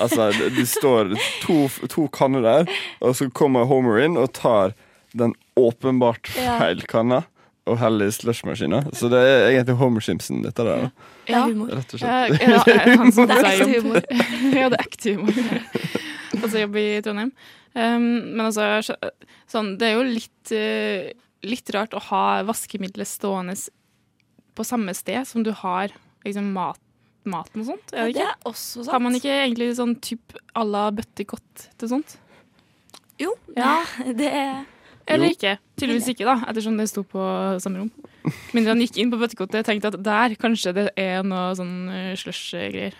S2: Altså, det, det står to, to kanner der, og så kommer Homer inn og tar den åpenbart
S10: Ja.
S2: feil kanna og heller i slushmaskina. Så det er egentlig Homer Simpson, dette der. da.
S10: Det er humor.
S2: Rett og
S12: Eh,
S2: slett.
S12: Ja, eh, han som
S2: Det er
S12: tar
S2: ekte
S12: jobb.
S2: humor.
S12: ja, det er ekte humor. Altså jobb i Trondheim. Um, men altså, skjø- sånn, det er jo litt, eh, litt rart å ha vaskemiddelet stående s- på samme sted som du har liksom, mat, maten og sånt. Er det,
S10: Ja, det
S12: ikke?
S10: er også sant.
S12: Har man ikke egentlig sånn typ à la bøttekott til sånt?
S10: Jo, det, det er
S12: Eller
S10: Jo.
S12: ikke. Tydeligvis ikke, da, ettersom det sto på samme rom. Mindre han gikk inn på bøttekottet og tenkte at der kanskje det er noe sånn eh, slush-greier.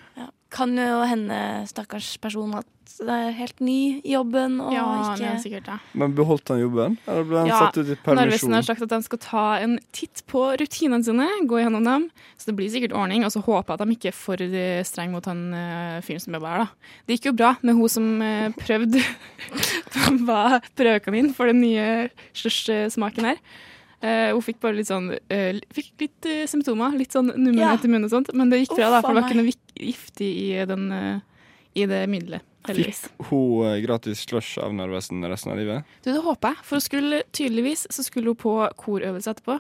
S10: Kan jo hende, stakkars person, at det er helt ny i jobben og
S12: Ja,
S10: ikke
S12: men sikkert, ja.
S2: Men beholdt han jobben? Eller ble han satt ut i
S12: Narvesen
S2: permisjon?
S12: har sagt at de skal ta en titt på rutinene sine, gå gjennom dem. Så det blir sikkert ordning, og så håper jeg at de ikke er for eh, streng mot han eh, fyren som jobber her, da. Det gikk jo bra med hun som eh, prøvde var prøvekanin for den nye slush-smaken her. Eh, hun fikk bare litt sånn eh, li- Fikk litt eh, symptomer, litt sånn nummenhet
S10: Ja.
S12: i munnen og sånt, men det gikk bra,
S10: Å,
S12: da, for det var
S10: faen
S12: ikke noe
S10: meg.
S12: vik- giftig i, den, eh, i det middelet.
S2: Fikk
S12: heldigvis.
S2: hun eh, gratis slush av Narvesen resten av livet?
S12: Du, det håper jeg. For hun skulle, tydeligvis så skulle hun på korøvelse etterpå.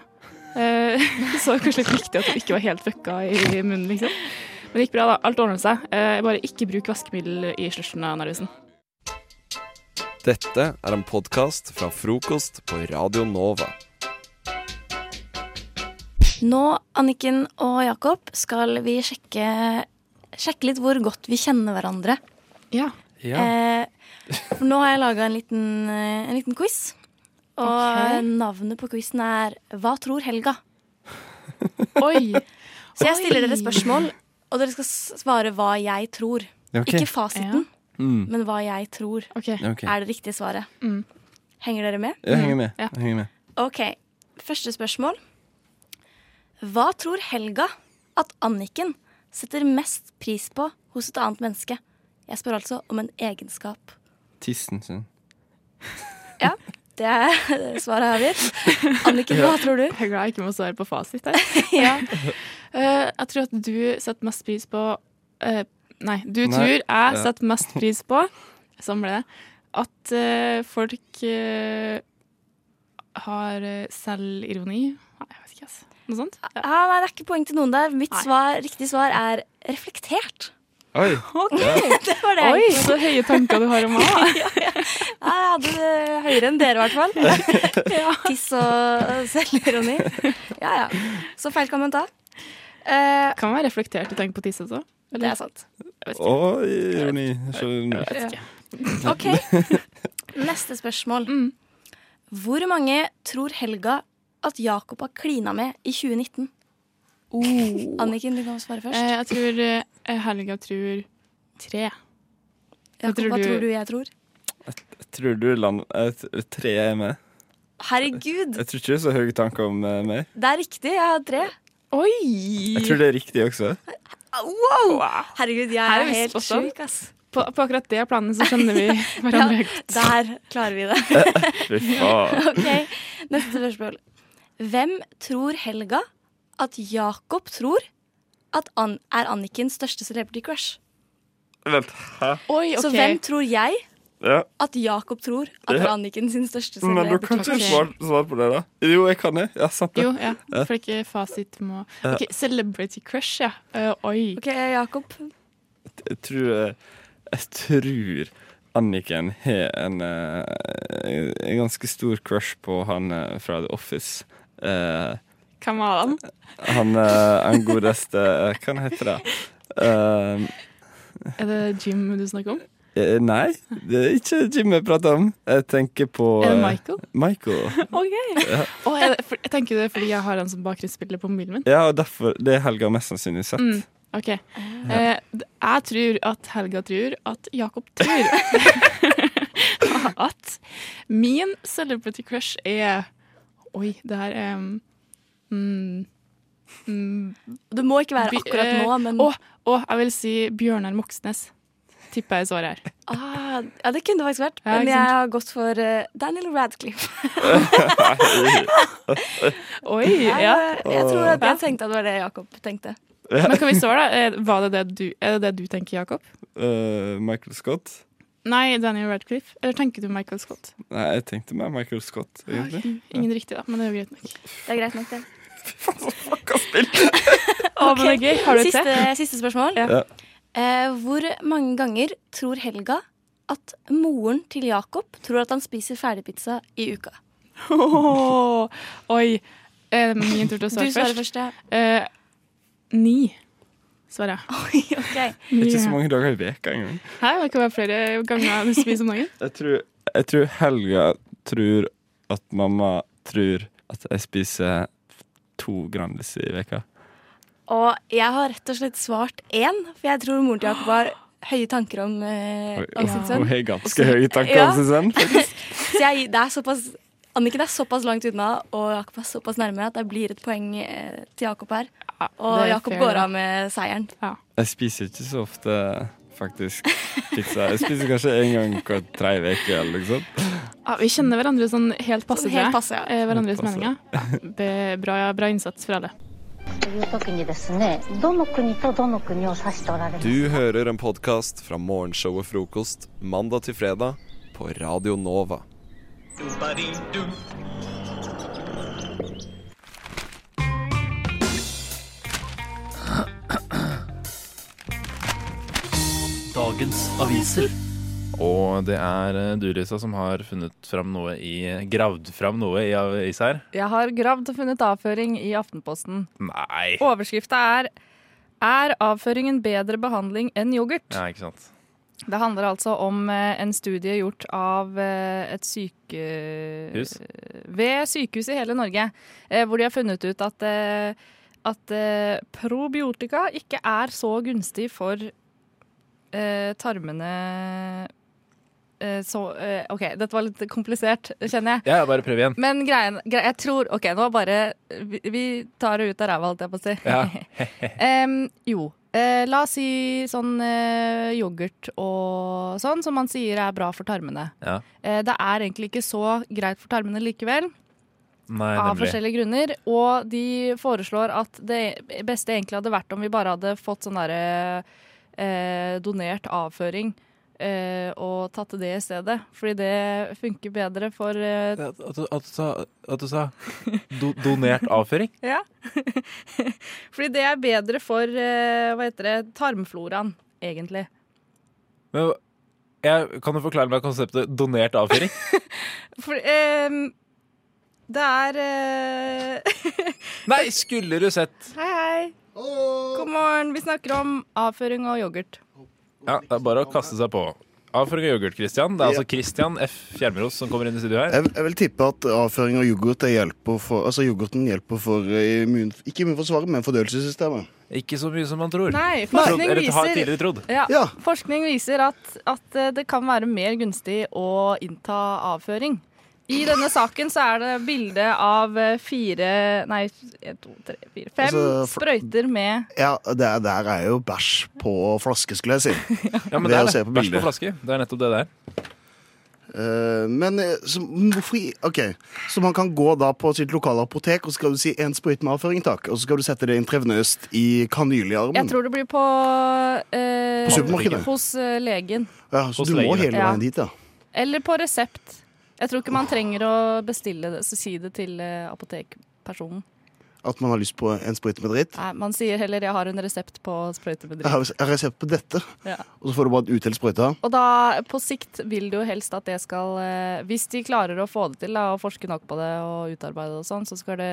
S12: Eh, så det var kanskje litt viktig at hun ikke var helt fucka i munnen, liksom. Men det gikk bra, da. Alt ordnet seg. Eh, bare ikke bruk vaskemiddel i slutten av analysen.
S5: Dette er en podkast fra frokost på Radio Nova.
S10: Nå, Anniken og Jakob, skal vi sjekke, sjekke litt hvor godt vi kjenner hverandre.
S12: Ja.
S10: Eh, for nå har jeg laga en, liten, eh, en liten quiz. Og
S12: Ok.
S10: navnet på quizen er Hva tror Helga?
S12: Oi!
S10: Så jeg stiller
S12: Oi.
S10: dere spørsmål, og dere skal s- svare hva jeg tror.
S2: Ja, ok.
S10: Ikke fasiten,
S2: Mm.
S10: men hva jeg tror
S2: Ja, ok.
S10: er det riktige svaret.
S12: Mm.
S10: Henger dere med?
S2: Jeg henger med. Jeg henger med.
S10: Ok, første spørsmål. Hva tror Helga at Anniken setter mest pris på hos et annet menneske? Jeg spør altså om en egenskap.
S2: Tissen sin.
S10: Ja, det er Eh, svaret jeg har gitt. Anniken, hva tror du?
S12: Jeg er glad jeg ikke må svare på fasit her.
S10: ja.
S12: Eh, jeg tror at du setter mest pris på eh, Nei, du
S10: Nei.
S12: tror jeg
S10: Ja.
S12: setter mest pris på Sånn ble det. At eh, folk eh, har eh, selvironi. Nei, jeg vet ikke, altså. Noe sånt. Ja.
S10: Ja, nei, det er ikke poeng til noen der. Mitt svar, riktige svar er reflektert.
S2: Oi.
S10: det var det.
S12: Oi, så høye tanker du har om meg.
S10: Jeg hadde, høyere enn dere, i hvert fall. Tiss og selvironi. Ja, ja. Så feil Eh, kan man ta.
S12: kan være reflektert å tenke på tiss også.
S10: Det er sant.
S2: Og ironi. Så,
S10: vet ikke. OK. Neste spørsmål.
S12: Mm.
S10: Hvor mange tror Helga at Jakob har klina med i 2019? Anniken, du kan svare først.
S12: Oh. Eh, jeg tror eh, Helga tror tre. Hva
S10: Jakob, hva tror du jeg tror?
S2: Tror du land... Jeg t- Tre er med.
S10: Herregud,
S2: Jeg tror ikke det er så høye tanker om eh, meg.
S10: det er riktig. Jeg har tre. Oi!
S2: Jeg tror det er riktig også.
S10: Ah, Wow! Herregud, jeg
S12: Her er
S10: er,
S12: vi
S10: helt
S12: spot on.
S10: sjuk, ass.
S12: På, på akkurat det planet så skjønner vi hverandre
S10: Ja,
S12: godt.
S10: der klarer vi det.
S12: Fy faen.
S10: ok, Neste spørsmål. Hvem tror Helga at Jakob tror at An er Annikens største celebrity crush?
S2: Vent, hæ?
S10: Så hvem tror jeg
S2: Ja.
S10: at Jakob tror at er
S2: Ja.
S10: Anniken sin største
S2: Men du
S10: celebrity
S2: kan ikke
S10: crush?
S2: svare, svare på det, da. Jo, jeg kan det. Ja, sant det.
S12: Jo, ja.
S2: Ja.
S12: For ikke fasit må
S2: Ja.
S12: OK, celebrity crush, ja. Eh, oi.
S10: OK, Jakob.
S2: Jeg tror eh, Jeg tror Anniken har en, eh, en ganske stor crush på han eh, fra The Office. Eh,
S12: Hvem var han?
S2: han, eh, han godeste eh, Hva han heter det?
S12: Er det Jim du snakker om?
S2: Eh, eh, nei, det er ikke Jim jeg prater om. Jeg tenker på
S12: Er det
S2: eh,
S12: Michael?
S2: Michael.
S12: OK.
S2: Ja.
S12: Å, er det, for, jeg tenker det er fordi jeg har han som bakgrunnsbilde på mobilen min.
S2: Ja, og derfor Det er Helga mest sannsynlig sett.
S12: Mm, OK. Eh, d- jeg tror at Helga tror at Jakob tror at min celebrity crush er Oi, det her er um, mm, mm,
S10: Det må ikke være
S12: Bi-
S10: akkurat
S12: eh,
S10: nå, men-
S12: Å, å, jeg vil si Bjørnar Moxnes. Tipper jeg er svaret her.
S10: Ah, ja, det kunne det faktisk vært.
S12: Ja,
S10: Men
S12: ikke
S10: jeg
S12: sant?
S10: har gått for eh, Daniel Radcliffe.
S12: Oi,
S10: Jeg,
S12: ja.
S10: jeg tror at jeg tenkte at det var det Jakob tenkte.
S12: Men kan vi svare, da? Eh, Var det det du, er det det du tenker, Jakob?
S10: Mm.
S2: Eh, Michael Scott.
S12: Nei, Daniel Radcliffe. Eller tenker du Michael Scott?
S2: Nei, jeg tenkte mer Michael Scott, egentlig.
S12: Ingen riktig, da, men det er jo greit nok.
S10: Det er greit nok, det.
S12: Å, men det er gøy. Har du et
S10: siste,
S12: til?
S10: siste spørsmål.
S2: Ja.
S10: Eh, hvor mange ganger tror Helga at moren til Jakob tror at han spiser ferdigpizza i uka?
S12: Åh, oi. Er det min tur til å svare
S10: Du
S12: først?
S10: svarer først, ja.
S12: Eh, ni, svarer jeg.
S2: Det er ikke så
S12: Ja.
S2: mange dager i veka engang.
S12: Hæ, det kan være flere ganger du spiser om dagen.
S2: Jeg tror, jeg tror Helga tror at mamma tror at jeg spiser to Grandis i veka.
S10: Og jeg har rett og slett svart én, for jeg tror moren til Jakob har høye tanker om, eh,
S2: Oi,
S10: om sin sønn.
S2: Hun har ganske høye tanker
S10: Ja.
S2: om sin sønn. faktisk.
S10: Så jeg, det er såpass Anniken er såpass langt unna, og Jakob er såpass nærme at det blir et poeng eh, til Jakob her.
S12: det
S10: Og
S12: er
S10: Jakob
S12: fair,
S10: går
S12: da.
S10: av med seieren.
S2: Jeg spiser ikke så ofte faktisk pizza. Jeg spiser kanskje en gang hver tre uker eller noe sånt.
S12: Ja, vi kjenner hverandre sånn helt passe,
S10: Sånn
S12: tror
S10: helt
S12: jeg.
S10: passe, ja.
S12: Eh, Hverandres
S2: Helt passe.
S12: meninger. Ja, be- bra, bra innsats fra alle.
S14: という時にですねどの国とどの国を指しておられます
S5: Du hører en podkast fra morgenshowet Frokost mandag til fredag på Radio Nova.
S15: Dagens aviser. Og det er eh, du, Lisa, som har funnet fram noe i Gravd fram noe i avis her?
S16: Jeg har gravd og funnet avføring i Aftenposten.
S15: Nei.
S16: Overskrifta er Er avføringen bedre behandling enn yoghurt?
S15: Ja, ikke sant.
S16: Det handler altså om eh, en studie gjort av eh, et
S4: Eh,
S16: syke...
S15: Hus?
S16: Ved sykehus i hele Norge, eh, hvor de har funnet ut at, eh, at eh, probiotika ikke er så gunstig for eh, tarmene eh, så, eh, OK, dette var litt komplisert, kjenner jeg.
S15: Ja, ja, bare prøv igjen.
S16: Men greien, grei- jeg tror OK, nå bare Vi, vi tar det ut av ræva, holdt jeg på å si.
S15: Ja.
S16: Em, jo. Eh, la oss si sånn eh, yoghurt og sånn, som man sier er bra for tarmene.
S15: Ja.
S16: Eh, det er egentlig ikke så greit for tarmene likevel,
S15: Nei,
S16: av
S15: nemlig.
S16: forskjellige grunner. Og de foreslår at det beste egentlig hadde vært om vi bare hadde fått sånn derre eh, donert avføring. eh, og tatt det i stedet, fordi det funker bedre for eh,
S15: At du, at du sa, at du sa do, donert avføring?
S16: Ja. Fordi det er bedre for eh, hva heter det, tarmfloraen, egentlig.
S15: Men, Jeg, kan du forklare meg konseptet donert avføring?
S16: For, ehm, det er eh,
S15: Nei, skulle du sett!
S16: Hei, hei. God morgen. Vi snakker om avføring og yoghurt.
S15: Ja, det er bare å kaste seg på. Avføring og yoghurt, Christian. Det er altså Christian F. Fjermeros som kommer inn i studio her.
S17: Jeg, jeg vil tippe at avføring av yoghurt er hjelper for, altså yoghurten hjelper for eh, immun, ikke immunforsvaret, men fordøyelsessystemet.
S15: Ikke så mye som man tror.
S16: Nei, forskning
S15: Eller har
S16: viser,
S15: tidligere trodd.
S16: Ja, forskning viser at, at eh, det kan være mer gunstig å innta avføring. I denne saken så er det bilde av eh, fire Nei, en, to, tre, fire, fem
S17: Altså, for-
S16: sprøyter med
S17: Ja, det er- der er jo bæsj på flaske, skulle jeg si.
S15: Ja, men
S17: Ved
S15: det er
S17: å se
S15: det. Bæsj på
S17: bildet.
S15: flaske. Det er nettopp det det er.
S17: Eh, men eh, så, men hvorfor i- Ok, så man kan gå da på sitt lokale apotek, og så skal du si en sprøyte med avføring, takk, og så skal du sette det intravenøst i
S16: Jeg
S17: kanylearmen.
S16: tror det blir på eh,
S17: På supermarkedet.
S16: Hos eh, legen.
S17: Ja, så
S16: Hos
S17: du må
S16: legene.
S17: hele
S16: Ja.
S17: veien dit, ja.
S16: Eller på resept. Jeg tror ikke man trenger å bestille det, så si det til eh, apotekpersonen.
S17: At man har lyst på en sprøyte med dritt.
S16: Nei, man sier heller 'jeg har en resept på sprøytemedritt'.
S17: Jeg har jeg har resept på dette,
S16: Ja.
S17: og så får du bare et utdelt sprøyte.
S16: Og da, på sikt vil du jo helst at det skal eh, Hvis de klarer å få det til da, og forske nok på det og utarbeide det og sånn, så skal det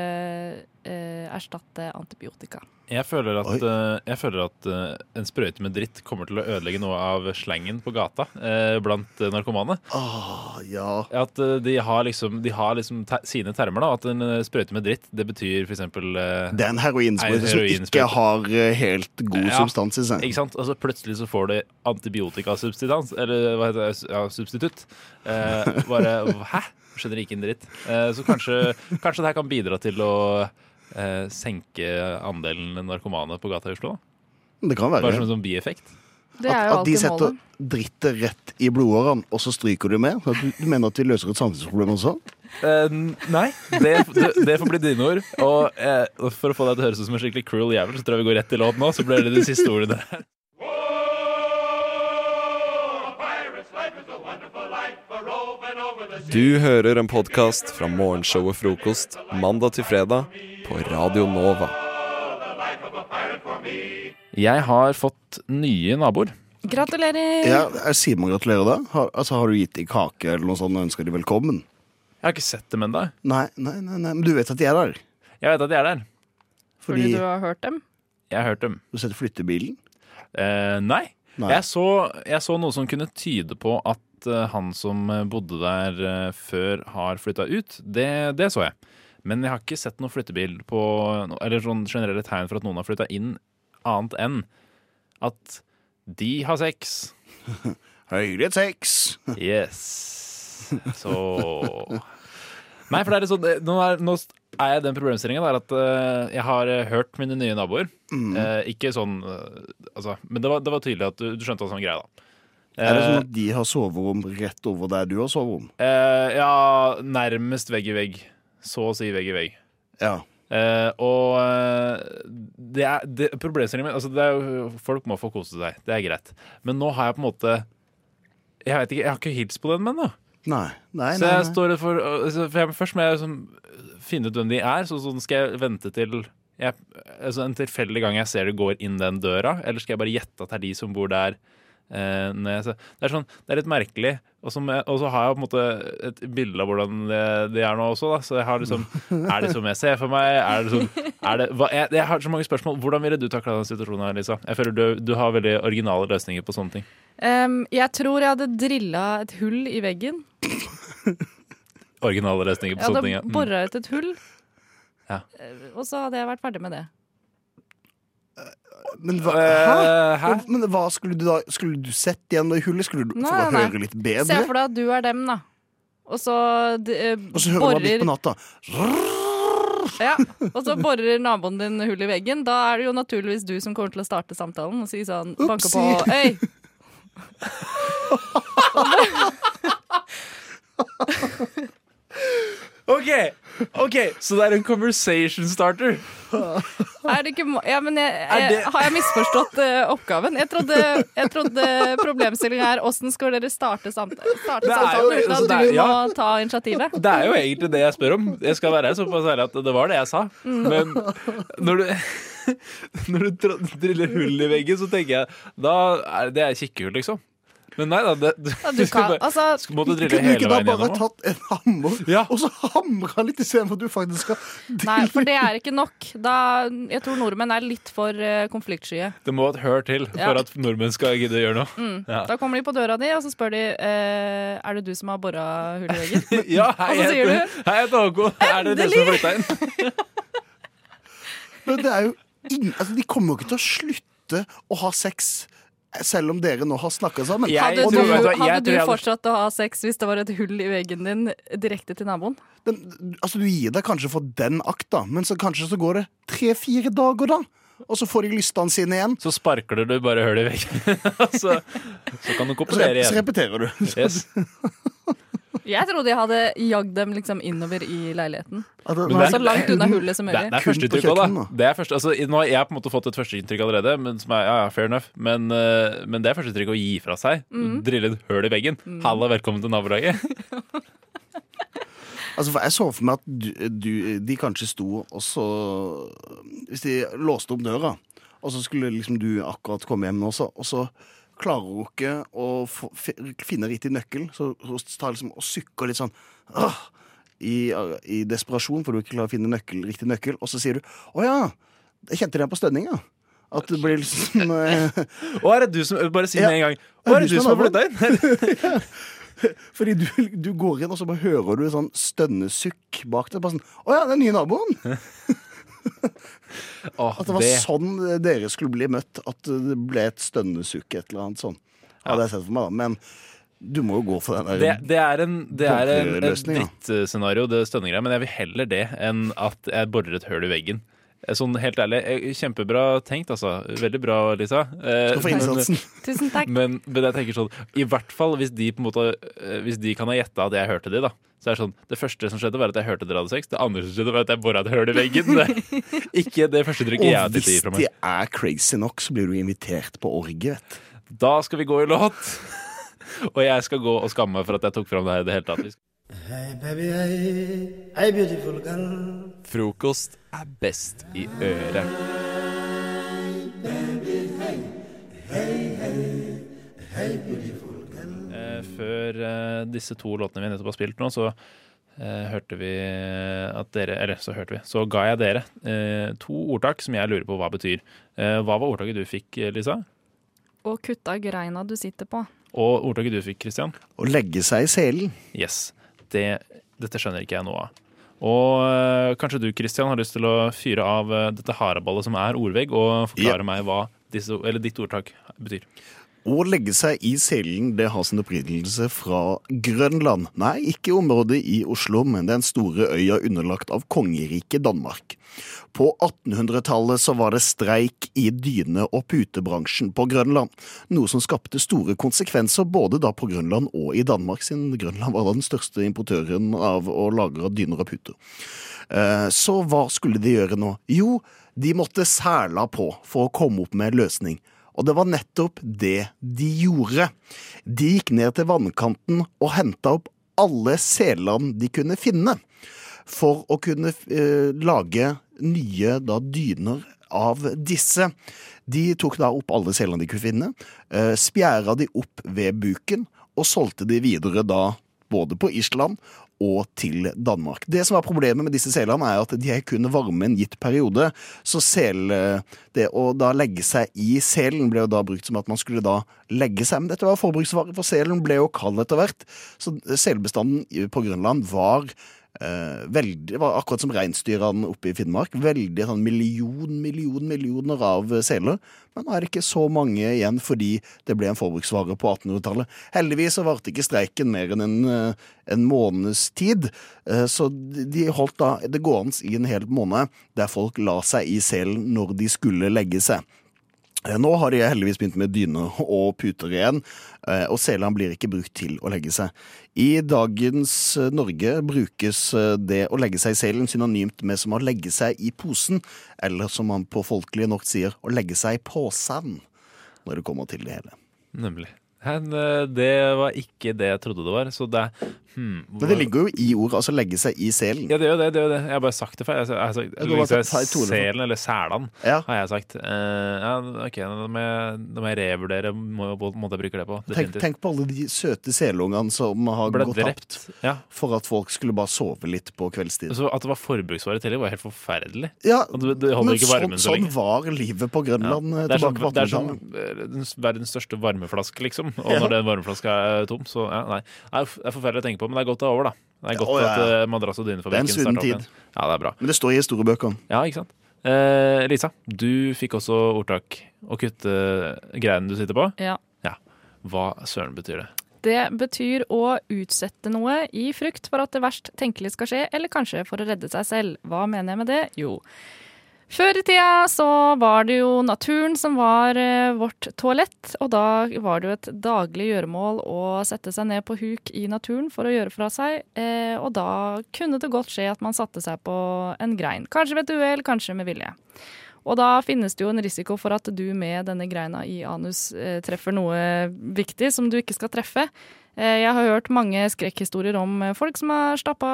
S16: eh, erstatte antibiotika.
S15: Jeg føler at, eh, jeg føler at eh, en sprøyte med dritt kommer til å ødelegge noe av slangen på gata eh, blant eh, narkomane. Ah. At eh, de har liksom, de har liksom te sine termer, da. At en eh, sprøyte med dritt, det betyr f.eks. Uh,
S17: Det er en heroinsprøyte som ikke har eh, helt god substans i seg.
S15: Ikke sant? Altså, plutselig så får du antibiotikasubstans, eller hva heter det, ja, substitutt. Eh, bare hæ? Skjønner ikke en dritt. Eh, så kanskje, kanskje det her kan bidra til å eh, senke andelen narkomane på gata i Oslo? da?
S17: Det kan være.
S15: Bare som en sånn bieffekt?
S16: Det er jo
S17: at de
S16: alltid
S17: setter
S16: målet.
S17: drittet rett i blodårene, og så stryker du med? At Du, du mener at vi løser et samfunnsproblem også?
S15: Eh, n- nei, det, det, det får bli dine ord. Og eh, for å få deg til å høres ut som en skikkelig cruel jævel, så tror jeg vi går rett til låt nå. Så blir det de siste ordene der.
S5: Du hører en podkast fra morgenshowet Frokost mandag til fredag på Radio Nova.
S15: Jeg har fått nye naboer.
S16: Gratulerer!
S17: Ja, jeg sier man gratulerer da. Har, altså, har du gitt dem kake eller noe sånt og ønsker de velkommen?
S15: Jeg har ikke sett dem ennå.
S17: Nei, nei, nei, nei, men du vet at de er der.
S15: Jeg vet at de er der.
S16: Fordi,
S17: Fordi-
S16: du har hørt dem?
S15: Jeg har hørt dem.
S17: Du setter flyttebilen?
S15: Eh, nei. Jeg, så, jeg så noe som kunne tyde på at eh, han som eh, bodde der eh, før, har flytta ut. Det, det så jeg. Men jeg har ikke sett noen flyttebil på no- Eller sånn generelle tegn for at noen har flytta inn, annet enn at de har sex.
S17: Høyere sex.
S15: yes. Så Nei, for det er litt sånn det- Nå er, nå er jeg i den problemstillinga der at eh, jeg har eh, hørt mine nye naboer.
S17: Mm.
S15: Eh, ikke sånn eh, Altså, men det var, det var tydelig at du, du skjønte hva som var greia, da.
S17: Er det
S15: Eh,
S17: sånn at de har soverom rett over der du har soverom?
S15: Eh, ja, nærmest vegg i vegg. Så å si vegg i vegg. Eh, og eh, det er det, problemstillingen min altså det er jo, Folk må få kose seg, det er greit. Men nå har jeg på en måte Jeg vet ikke, jeg har ikke hilst på den ennå.
S17: Nei. nei,
S15: Så
S17: nei,
S15: jeg
S17: nei.
S15: står for, altså, for jeg, Først må jeg liksom finne ut hvem de er, så sånn skal jeg vente til jeg, altså en tilfeldig gang jeg ser det går inn den døra, eller skal jeg bare gjette at det er de som bor der? Eh, når jeg ser- det, er sånn, det er litt merkelig. Og så må jeg- og så har jeg på en måte et bilde av hvordan det, det er nå også. Da. Så jeg har liksom Er det som jeg ser for meg? Er det som, er det, hva, jeg, jeg har så mange spørsmål. Hvordan ville du takla den situasjonen her, Lisa? Jeg føler du, du har veldig originale løsninger på sånne ting.
S16: Em, jeg tror jeg hadde drilla et hull i veggen.
S15: Originale løsninger
S16: Jeg
S15: på sånne ting. ja.
S16: hadde
S15: Mm.
S16: bora ut et hull,
S15: Ja.
S16: eh, og så hadde jeg vært ferdig med det.
S17: Men hva,
S16: Eh,
S15: hæ?
S17: Men hva skulle du da Skulle du sett igjen det hullet? Skulle du
S16: Nei,
S17: for
S16: nei,
S17: å
S16: nei.
S17: høre litt
S16: Se
S17: bedre?
S16: for deg at du er dem, da. Og så d- eh,
S17: Og så hører man midt på natta.
S16: Ja, og så borer naboen din hull i veggen. Da er det jo naturligvis du som kommer til å starte samtalen og si sånn Banke på
S8: Upsi.
S16: Øy!
S15: OK, ok, så det er en conversation starter.
S16: Er det ikke må Ja, men jeg,
S15: Er
S16: jeg,
S15: det-
S16: har jeg misforstått eh, oppgaven? Jeg trodde, jeg trodde problemstillinga er åssen skal dere starte, samt starte
S15: Det er
S16: samtalen
S15: jo-
S16: uten
S15: altså,
S16: at
S15: det
S16: du
S15: er-
S16: må
S15: ja.
S16: ta initiativet?
S15: Det er jo egentlig det jeg spør om. Jeg skal være såpass ærlig at det var det jeg sa.
S16: Mm.
S15: Men når du, når du dra- driller hull i veggen, så tenker jeg da er det er kikkehull, liksom. Men nei da, det, du,
S16: Ja, du
S15: skal
S16: kan-
S15: bare,
S16: altså-
S15: skal- må du
S17: Kunne
S15: drille
S17: du
S15: hele
S17: ikke da
S15: veien
S17: bare
S15: gjennom? da?
S17: tatt en hammer og så hamra litt istedenfor at du faktisk skal
S16: Nei, for det er ikke nok. Da, jeg tror nordmenn er litt for eh, konfliktskye.
S15: Det må et hør til
S16: Ja.
S15: for at nordmenn skal gidde å gjøre noe.
S16: Mm.
S15: Ja.
S16: Da kommer de på døra di, og så spør de eh, Er det du som har bora hull i veggen.
S15: ja, hei,
S16: Og så sier
S15: jeg heter- Hei, jeg heter Håkon. Er det dere som har flytta inn?
S17: Men det er jo ingen, altså, De kommer jo ikke til å slutte å ha sex eh, selv om dere nå har snakka sammen.
S16: hadde
S17: Og
S16: du,
S17: nå-
S16: hadde du fortsatt å ha sex hvis det var et hull i veggen din direkte til naboen?
S17: Altså, du gir deg kanskje for den akta, men så kanskje så går det tre-fire dager, da. Og så får de lystene sine igjen.
S15: Så sparkler du bare hull i veggen. så, så kan du
S17: Så
S15: komponere
S17: rep-
S15: igjen.
S17: så repeterer du. Så-
S15: Yes.
S16: Jeg trodde jeg hadde jagd dem liksom innover i leiligheten.
S17: Altså,
S15: Men det er-
S16: så langt unna hullet som
S15: Det, er-
S16: mulig.
S15: det er førsteinntrykk òg, da. Det er første, altså, nå har jeg på en måte fått et førsteinntrykk allerede, men, som er, ja, ja, fair enough. men, eh, men det er førsteinntrykk å gi fra seg.
S16: Mhm.
S15: Drille et høl i veggen.
S16: Mm.
S15: Halla, velkommen til nabolaget.
S17: Altså, for jeg så for meg at du, du, de kanskje sto og så Hvis de låste opp døra, og så skulle liksom du akkurat komme hjem nå også, og så klarer hun ikke å få, fi- finne riktig nøkkel, så hun tar liksom og sukker litt sånn «Åh!» i, i desperasjon for du ikke klarer å finne nøkkel, riktig nøkkel, og så sier du 'Å ja, jeg kjente deg på stønninga'. At det blir liksom eh,
S15: Og er det du som Bare si med en gang.
S17: Ja,
S15: Å, er det du som har flytta inn?
S17: naboen? Fordi du, du går inn, og så bare hører du sånn stønnesukk bak deg. Bare sånn 'Å ja, den nye naboen'. At det
S15: Ah,
S17: var
S15: det-
S17: sånn dere skulle bli møtt. At det ble et stønnesukk, et eller annet sånn. Ja, det har jeg sett for meg, da. Men du må jo gå for den
S15: Det,
S17: der.
S15: det er en, det er en, en
S17: Borer-løsning, ja.
S15: drittscenario, det stønnegreia, men jeg vil heller det enn at jeg borer et høl i veggen. Eh, Sånn helt ærlig, eh, kjempebra tenkt, altså. Veldig bra, Lisa. Eh,
S17: Skal få innsatsen.
S16: Tusen takk.
S15: Men, men jeg tenker sånn, i hvert fall hvis de på en måte eh, Hvis de kan ha gjetta at jeg hørte de, da. Så er det sånn, Det første som skjedde, var at jeg hørte dere hadde sex. Det andre som skjedde, var at jeg bora et høl i veggen. Det, er ikke det første trykket jeg har tatt
S17: Og hvis
S15: i fra
S17: de
S15: meg.
S17: er crazy nok, så blir du invitert på orgie, vet du.
S15: Da skal vi gå i låt. Og jeg skal gå og skamme meg for at jeg tok fram det her i det hele tatt. Vi skal
S18: Hey baby, hey, hey beautiful girl.
S5: Frokost er best i øret.
S15: Eh, før eh, disse to låtene vi nettopp har spilt nå, så eh, hørte vi eh, at dere Eller så hørte vi. Så ga jeg dere eh, to ordtak som jeg lurer på hva betyr. Eh, hva var ordtaket du fikk, eh, Lisa?
S16: Og kutta greina du sitter på.
S15: Og ordtaket du fikk, Christian?
S17: Å legge seg i selen.
S15: Yes. Det, dette skjønner ikke jeg noe av. Og eh, kanskje du, Christian, har lyst til å fyre av eh, dette haraballet som er ordvegg, og forklare meg hva disse, eller ditt ordtak betyr.
S17: Å legge seg i selen det har sin opprinnelse fra Grønland. Nei, ikke området i Oslo, men den store øya underlagt av kongeriket Danmark. På 1800-tallet så var det streik i dyne- og putebransjen på Grønland, noe som skapte store konsekvenser både da på Grønland og i Danmark, siden Grønland var da den største importøren av og lager av dyner og puter. Eh, Så hva skulle de gjøre nå? Jo, de måtte sæla på for å komme opp med en løsning. Og det var nettopp det de gjorde. De gikk ned til vannkanten og henta opp alle selene de kunne finne, for å kunne eh, lage nye da, dyner av disse. De tok da opp alle selene de kunne finne, eh, spjæra de opp ved buken og solgte de videre da både på Island og til Danmark. Det som er problemet med disse selene, er at de er kun varme en gitt periode. Så sel, eh, det å da legge seg i selen ble jo da brukt som at man skulle da legge seg. Men dette var forbruksvare, for selen ble jo kald etter hvert. Så eh, selbestanden i- på Grønland var eh, veldig, var akkurat som reinsdyrene oppe i Finnmark. Veldig sånn million, million, millioner av eh, seler. Men nå er det ikke så mange igjen fordi det ble en forbruksvare på 1800-tallet. Heldigvis så varte ikke streiken mer enn en, eh, en måneds tid. Eh, Så de de holdt da det gående i en hel måned, der folk la seg i selen når de skulle legge seg. Eh, Nå har de heldigvis begynt med dyner og puter igjen, eh, og selene blir ikke brukt til å legge seg. I dagens eh, Norge brukes eh, det å legge seg i selen synonymt med som å legge seg i posen, eller som man på folkelig nok sier, å legge seg i påsen når det kommer til det hele.
S15: Nemlig. Men, eh, Det var ikke det jeg trodde det var. Så det er hmm,
S17: Men det ligger jo i ordet, altså legge seg i selen.
S15: Ja, det gjør det. det, gjør det. Jeg har bare sagt det feil. Jeg har- jeg har sagt,
S17: Ja, du har
S15: liksom,
S17: sagt feil tone.
S15: selen, eller selan,
S17: Ja.
S15: har jeg sagt. Eh, ja, ok, da må jeg, da må jeg revurdere må- på en måte jeg bruker det på.
S17: Tenk,
S15: definitivt.
S17: tenk på alle de søte selungene som har
S15: Ble
S17: gått
S15: drept.
S17: tapt
S15: Ja.
S17: for at folk skulle bare sove litt på kveldstid.
S15: Så at det var forbruksvare til det, var helt forferdelig.
S17: Ja,
S15: At Altså, det, det holder
S17: Men
S15: ikke varmen
S17: sånn,
S15: så
S17: sånn
S15: lenge.
S17: var livet på Grønland eh,
S15: Det er som,
S17: tilbake på
S15: det er som
S17: 1800-tallet.
S15: eh, den s- verdens største varmeflaske, liksom. Og
S17: Ja.
S15: når den varmeflaska er tom, så ja, Nei. Nei, f- Det er forferdelig å tenke på, men det er godt det er over, da. Det er godt
S17: Å, ja.
S15: at eh, madrass og dynefabrikken
S17: Det er en
S15: starter
S17: svunnen
S15: opp igjen.
S17: tid.
S15: Ja, det er bra.
S17: Men det står i historiebøkene.
S15: Ja, ikke sant? Eh, Lisa, du fikk også ordtak å kutte greinen du sitter på.
S16: Ja.
S15: Hva søren betyr det?
S16: Det betyr å utsette noe i frykt for at det verst tenkelig skal skje, eller kanskje for å redde seg selv. Hva mener jeg med det? Jo. Før i tida så var det jo naturen som var eh, vårt toalett, og da var det jo et daglig gjøremål å sette seg ned på huk i naturen for å gjøre fra seg, eh, og da kunne det godt skje at man satte seg på en grein. Kanskje ved et uhell, kanskje med vilje. Og da finnes det jo en risiko for at du med denne greina i anus eh, treffer noe viktig som du ikke skal treffe. Eh, jeg har hørt mange skrekkhistorier om eh, folk som har stappa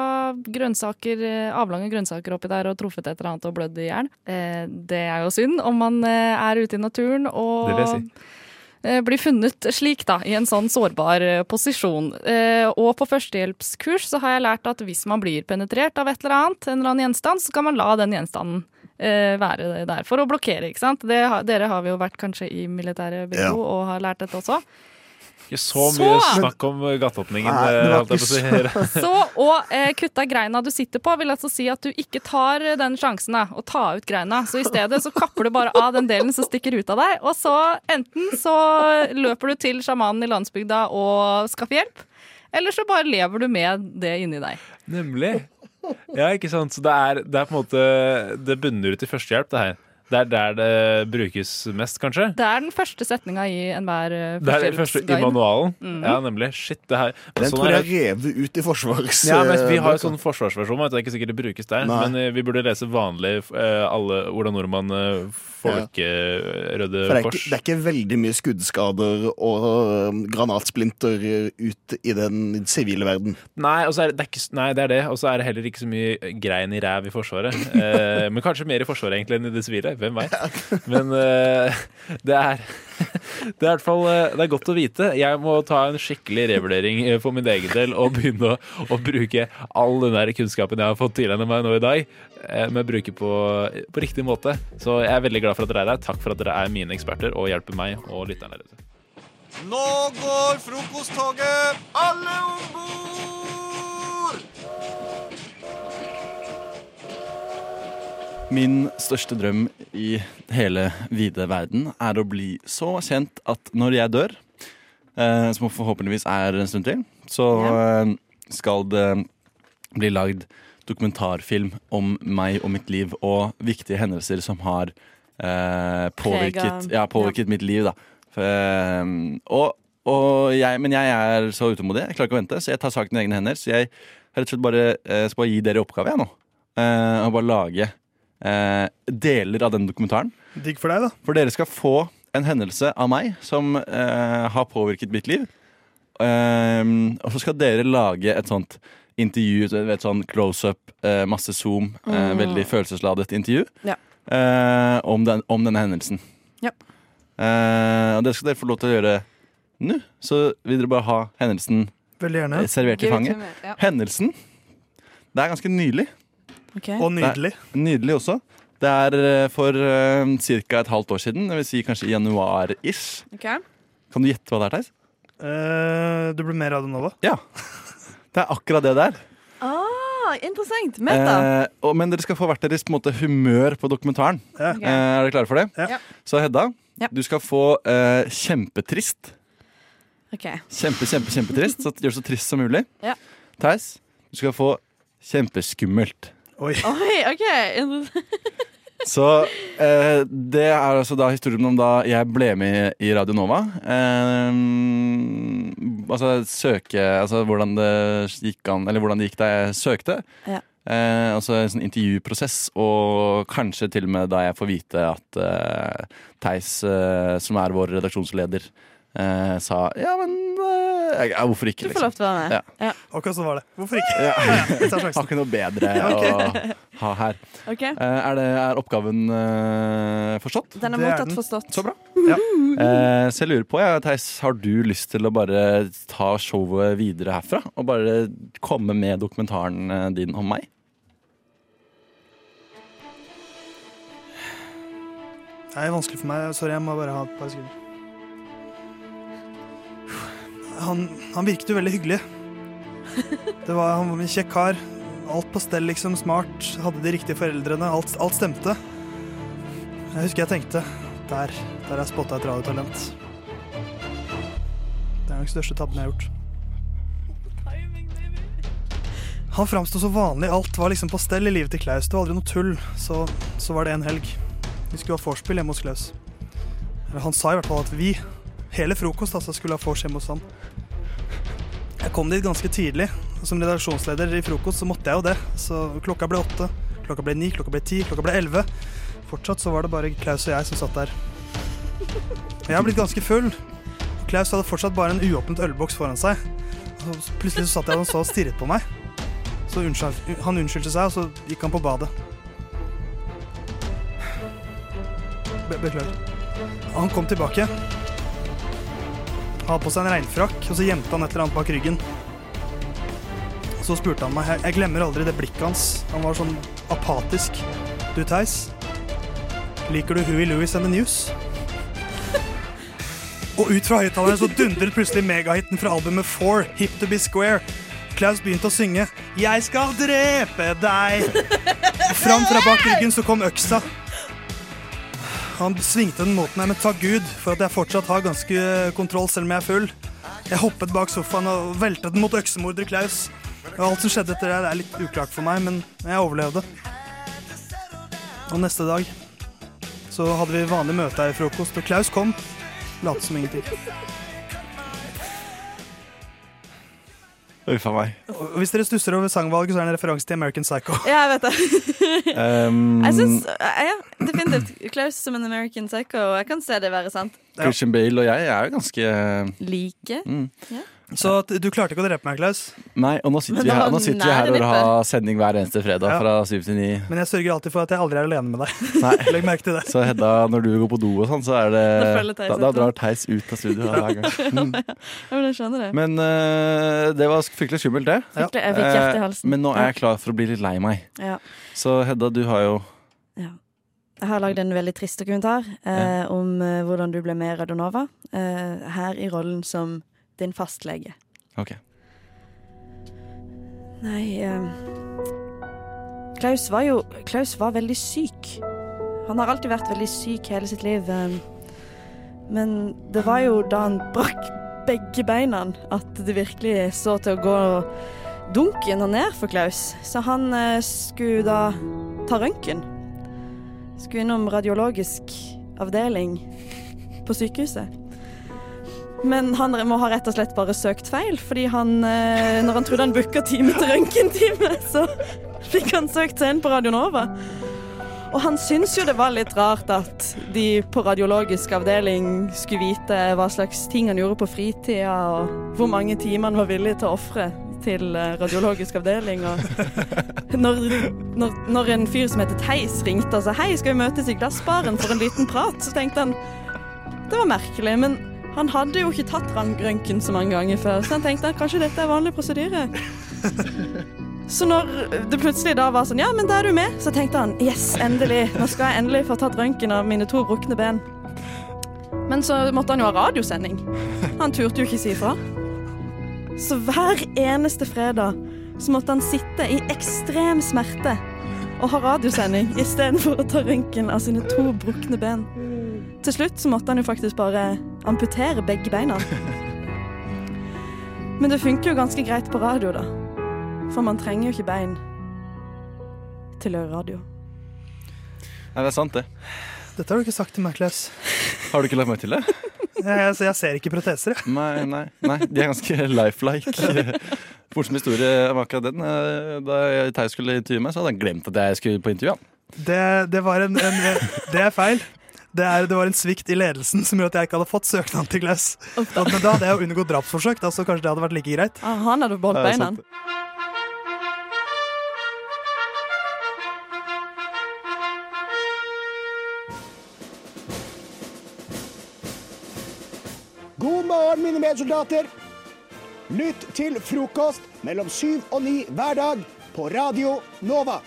S16: grønnsaker, eh, avlange grønnsaker oppi der og truffet et eller annet og blødd i hjel. Eh, det er jo synd om man eh, er ute i naturen og
S15: Det vil jeg si.
S16: eh, blir funnet slik, da, i en sånn sårbar eh, posisjon. Eh, og på førstehjelpskurs så har jeg lært at hvis man blir penetrert av et eller annet, en eller annen gjenstand, så kan man la den gjenstanden eh, være der for å blokkere, ikke sant. Det, har- dere har jo vært kanskje i militæret begge
S15: Ja.
S16: to og har lært dette også.
S15: Ikke så mye
S16: Så-
S15: snakk om gatteåpningen.
S17: Nei, det
S15: eh,
S17: var
S15: holdt jeg på å si her.
S16: Så å eh, kutte av greina du sitter på, vil altså si at du ikke tar eh, den sjansen da, å ta ut greina. Så i stedet så kapper du bare av den delen som stikker ut av deg, og så enten så løper du til sjamanen i landsbygda og skaffer hjelp, eller så bare lever du med det inni deg.
S15: Nemlig. Ja, ikke sant. Så det er, det er på en måte Det bunner ut i førstehjelp, det her. Det er der det brukes mest, kanskje.
S16: Det er den første setninga i enhver eh,
S15: Det er det første i
S16: førstehjelpsguide.
S15: manualen.
S16: Mm.
S15: Ja, nemlig. Shit, det her
S17: Den
S15: sånn
S17: tror
S15: er
S17: jeg
S15: det.
S17: rev ut i forsvars...
S15: Ja, men Vi har jo
S17: eh,
S15: sånn forsvarsversjon, vet du, det er ikke sikkert det brukes der.
S17: Nei.
S15: Men eh, vi burde lese vanlig eh, alle Ola Nordmann, eh, Folkerøde
S17: For det er,
S15: Kors.
S17: ikke, det er ikke veldig mye skuddskader og øhm, granatsplinter ut i den sivile verden.
S15: Nei, og så er det, det er ikke, s- nei, det er det. Og så er det heller ikke så mye grein i ræv i Forsvaret. Eh, men kanskje mer i Forsvaret egentlig enn i det sivile. Hvem veit. Men eh, det er Det er i hvert fall eh, Det er godt å vite. Jeg må ta en skikkelig revurdering eh, for min egen del og begynne å, å bruke all den der kunnskapen jeg har fått tilegnet meg nå i dag, eh, men bruke på, på riktig måte. Så jeg er veldig glad for at dere er her. Takk for at dere er mine eksperter og hjelper meg og lytterne deres.
S5: Nå går frokosttoget! Alle om bord!
S19: Min største drøm i hele vide verden er å bli så kjent at når jeg dør, eh, som forhåpentligvis er en stund til, så eh, skal det bli lagd dokumentarfilm om meg og mitt liv og viktige hendelser som har eh, påvirket,
S20: Prega-
S19: ja, påvirket mitt liv. Da. For, eh, og, og jeg, men jeg er så utålmodig, jeg klarer ikke å vente, så jeg tar saken i egne hender. Så jeg har rett og slett bare, eh, skal bare gi dere oppgave jeg nå. Eh, og bare lage eh, deler av den dokumentaren.
S17: Digg for deg, da.
S19: For dere skal få en hendelse av meg som eh, har påvirket mitt liv. Ehm, og så skal dere lage et sånt intervju, så- et sånn close up, eh, masse zoom, eh,
S20: Mm.
S19: veldig følelsesladet intervju
S20: Ja.
S19: eh, om, den, om denne hendelsen.
S20: Ja.
S19: Eh, og det skal dere få lov til å gjøre nå. Så vil dere bare ha hendelsen
S20: Veldig gjerne.
S19: eh, servert i
S20: Give it
S19: fanget.
S20: to me, ja.
S19: Hendelsen Det er ganske nylig.
S20: Ok. Og nydelig.
S19: Det er, nydelig også. Det er eh, for uh, ca. et halvt år siden, det vil si kanskje i januar-ish.
S20: Ok.
S19: Kan du gjette hva det er, Theis?
S20: Eh, du blir mer Radionova?
S19: Ja. Det er akkurat det det er.
S21: Ah, interessant. Meta.
S19: Eh, og, men dere skal få hvert deres på en måte, humør på dokumentaren.
S21: Ja.
S19: Eh, er dere klare for det?
S21: Ja.
S19: Så Hedda,
S21: Ja.
S19: du skal få eh, kjempetrist.
S21: OK.
S19: Kjempe, kjempe, kjempetrist. Så gjør det så trist som mulig.
S21: Ja.
S19: Theis, du skal få kjempeskummelt.
S20: Oi.
S21: Oi, OK. Interessant.
S19: Så eh, det er altså da historien om da jeg ble med i Radio Nova. Eh, altså søke Altså hvordan det gikk an Eller hvordan det gikk da jeg søkte.
S21: Ja.
S19: Eh, altså en sånn intervjuprosess, og kanskje til og med da jeg får vite at eh, Theis, eh, som er vår redaksjonsleder, eh, sa ja, men eh, ja, hvorfor
S22: Du
S19: ikke,
S22: får lov til å være med.
S19: Ja.
S22: Ja.
S20: Akkurat sånn var det. Hvorfor ikke?
S19: Ja.
S20: Jeg tar
S19: Har
S20: sjansen.
S19: ikke noe bedre
S20: Ok.
S19: å ha her.
S22: Ok.
S19: Eh, Er, det, er oppgaven eh, forstått?
S22: Den er mottatt forstått.
S19: Så bra. Eh, så jeg lurer på, ja, Theis, har du lyst til å bare ta showet videre herfra? Og bare komme med dokumentaren eh, din om meg?
S20: Det er vanskelig for meg. Sorry, jeg må bare ha et par sekunder. Han, han virket jo veldig hyggelig. Det var, han var en kjekk kar. Alt på stell, liksom. Smart. Hadde de riktige foreldrene. Alt, alt stemte. Jeg husker jeg tenkte Der der har jeg spotta et radiotalent. Det er nok den største tabben jeg har gjort. Han framsto så vanlig. Alt var liksom på stell i livet til Klaus. Det var aldri noe tull. Så, så var det en helg. Vi skulle ha vorspiel hjemme hos Klaus. Eller han sa i hvert fall at vi, hele frokost, altså, skulle ha vors hjemme hos han. Jeg kom dit ganske tidlig. og Som redaksjonsleder i frokost så måtte jeg jo det. Så klokka ble åtte, klokka ble ni, klokka ble ti, klokka ble elleve. Fortsatt så var det bare Klaus og jeg som satt der. Og jeg har blitt ganske full. Klaus hadde fortsatt bare en uåpnet ølboks foran seg. Og så plutselig så satt jeg og han så og stirret på meg. Så unnskyld, han unnskyldte seg, og så gikk han på badet. Be beklager. Han kom tilbake. Han hadde på seg en regnfrakk, og så gjemte han et eller annet bak ryggen. Så spurte han meg. Jeg, jeg glemmer aldri det blikket hans. Han var sånn apatisk. Du, Theis, liker du Huey Louis and the News? Og ut fra høyttaleren så dundret plutselig megahiten fra albumet Four, Hip to be square. Klaus begynte å synge 'Jeg skal drepe deg'. Og fram fra bak ryggen så kom øksa. Han svingte den mot meg, men takk Gud for at jeg fortsatt har ganske eh, kontroll selv om jeg er full. Jeg hoppet bak sofaen og veltet den mot øksemorder Klaus. Og alt som skjedde etter det, det er litt uklart for meg, men jeg overlevde. Og neste dag så hadde vi vanlig møte her i frokost, og Klaus kom. Lot som ingenting.
S19: Uff a meg.
S20: Og hvis dere stusser over sangvalget, så er det en referanse til American Psycho.
S22: Ja, jeg vet det.
S19: Um,
S22: jeg syns
S21: eh,
S22: ja, definitivt Klaus som en American Psycho. Jeg kan se det være sant.
S19: Christian Bale og jeg er jo ganske
S22: Like.
S19: Mm.
S22: Ja.
S20: Så at du klarte ikke å drepe meg, Klaus?
S19: Nei, og nå sitter
S20: Men
S19: vi her,
S20: da-
S19: nå sitter
S20: nei,
S19: vi her
S20: det
S19: og
S20: er
S19: har sending hver eneste fredag
S20: Ja.
S19: fra syv til ni.
S20: Men jeg sørger alltid for at jeg aldri er alene med deg.
S19: Nei.
S20: Legg merke til det.
S19: Så Hedda, når du går på do og sånn, så er det
S22: Da følger Theis
S19: Da, da
S22: etter.
S19: drar Theis ut av studio hver gang. Mm.
S22: Ja, men jeg skjønner det.
S19: Men eh, det var fryktelig skummelt, det.
S22: Fryktelig, jeg fikk hjerte i
S19: Eh,
S22: halsen.
S19: Men nå er jeg klar for å bli litt lei meg.
S22: Ja.
S19: Så Hedda, du har jo
S21: Jeg har lagd en veldig trist dokumentar eh, om eh, hvordan du ble med i Radionova. Eh, her i rollen som din fastlege.
S19: OK.
S21: Nei eh, Klaus var jo Klaus var veldig syk. Han har alltid vært veldig syk hele sitt liv. eh, men det var jo da han brakk begge beina at det virkelig så til å gå dunken og ned for Klaus. Så han eh, skulle da ta røntgen. Skulle innom radiologisk avdeling på sykehuset. Men han må ha rett og slett bare søkt feil, fordi han, eh, når han trodde han booka time til røntgentime, så fikk han søkt seg inn på Radio Nova. Og han syns jo det var litt rart at de på radiologisk avdeling skulle vite hva slags ting han gjorde på fritida, og hvor mange timer han var villig til å ofre til eh, radiologisk avdeling. Og når, når, når en fyr som heter Theis ringte og sa hei, skal vi møtes i Glassbaren for en liten prat, så tenkte han det var merkelig, men han hadde jo ikke tatt rang- røntgen så mange ganger før, så han tenkte at kanskje dette er vanlig prosedyre. Så når det plutselig da var sånn, ja, men da er du med, så tenkte han, yes, endelig, nå skal jeg endelig få tatt røntgen av mine to brukne ben. Men så måtte han jo ha radiosending. Han turte jo ikke si ifra. Så hver eneste fredag så måtte han sitte i ekstrem smerte og ha radiosending istedenfor å ta røntgen av sine to brukne ben. Til slutt så måtte han jo faktisk bare amputere begge beina. Men det funker jo ganske greit på radio, da. For man trenger jo ikke bein til å gjøre radio.
S19: Nei, det er sant, det.
S20: Dette har du ikke sagt til meg, Klaus.
S19: Har du ikke lagt merke til det?
S20: Jeg, altså, jeg, jeg ser ikke proteser, jeg.
S19: Nei, nei, nei, de er ganske lifelike. Morsom historie om akkurat den. eh, Da Theis skulle intervjue meg, så hadde han glemt at jeg skulle på intervju. han.
S20: Det, det var en, en Det er feil. Det, er, det var en svikt i ledelsen som gjorde at jeg ikke hadde fått søknaden til Klaus. Men da hadde jeg jo unngått drapsforsøk, da, så kanskje det hadde vært like greit.
S6: Ah, han hadde beholdt
S1: er
S20: Ja,
S6: beina.
S20: sant.
S7: God morgen, mine medsoldater. Lytt til frokost mellom syv og ni hver dag på Radio Nova.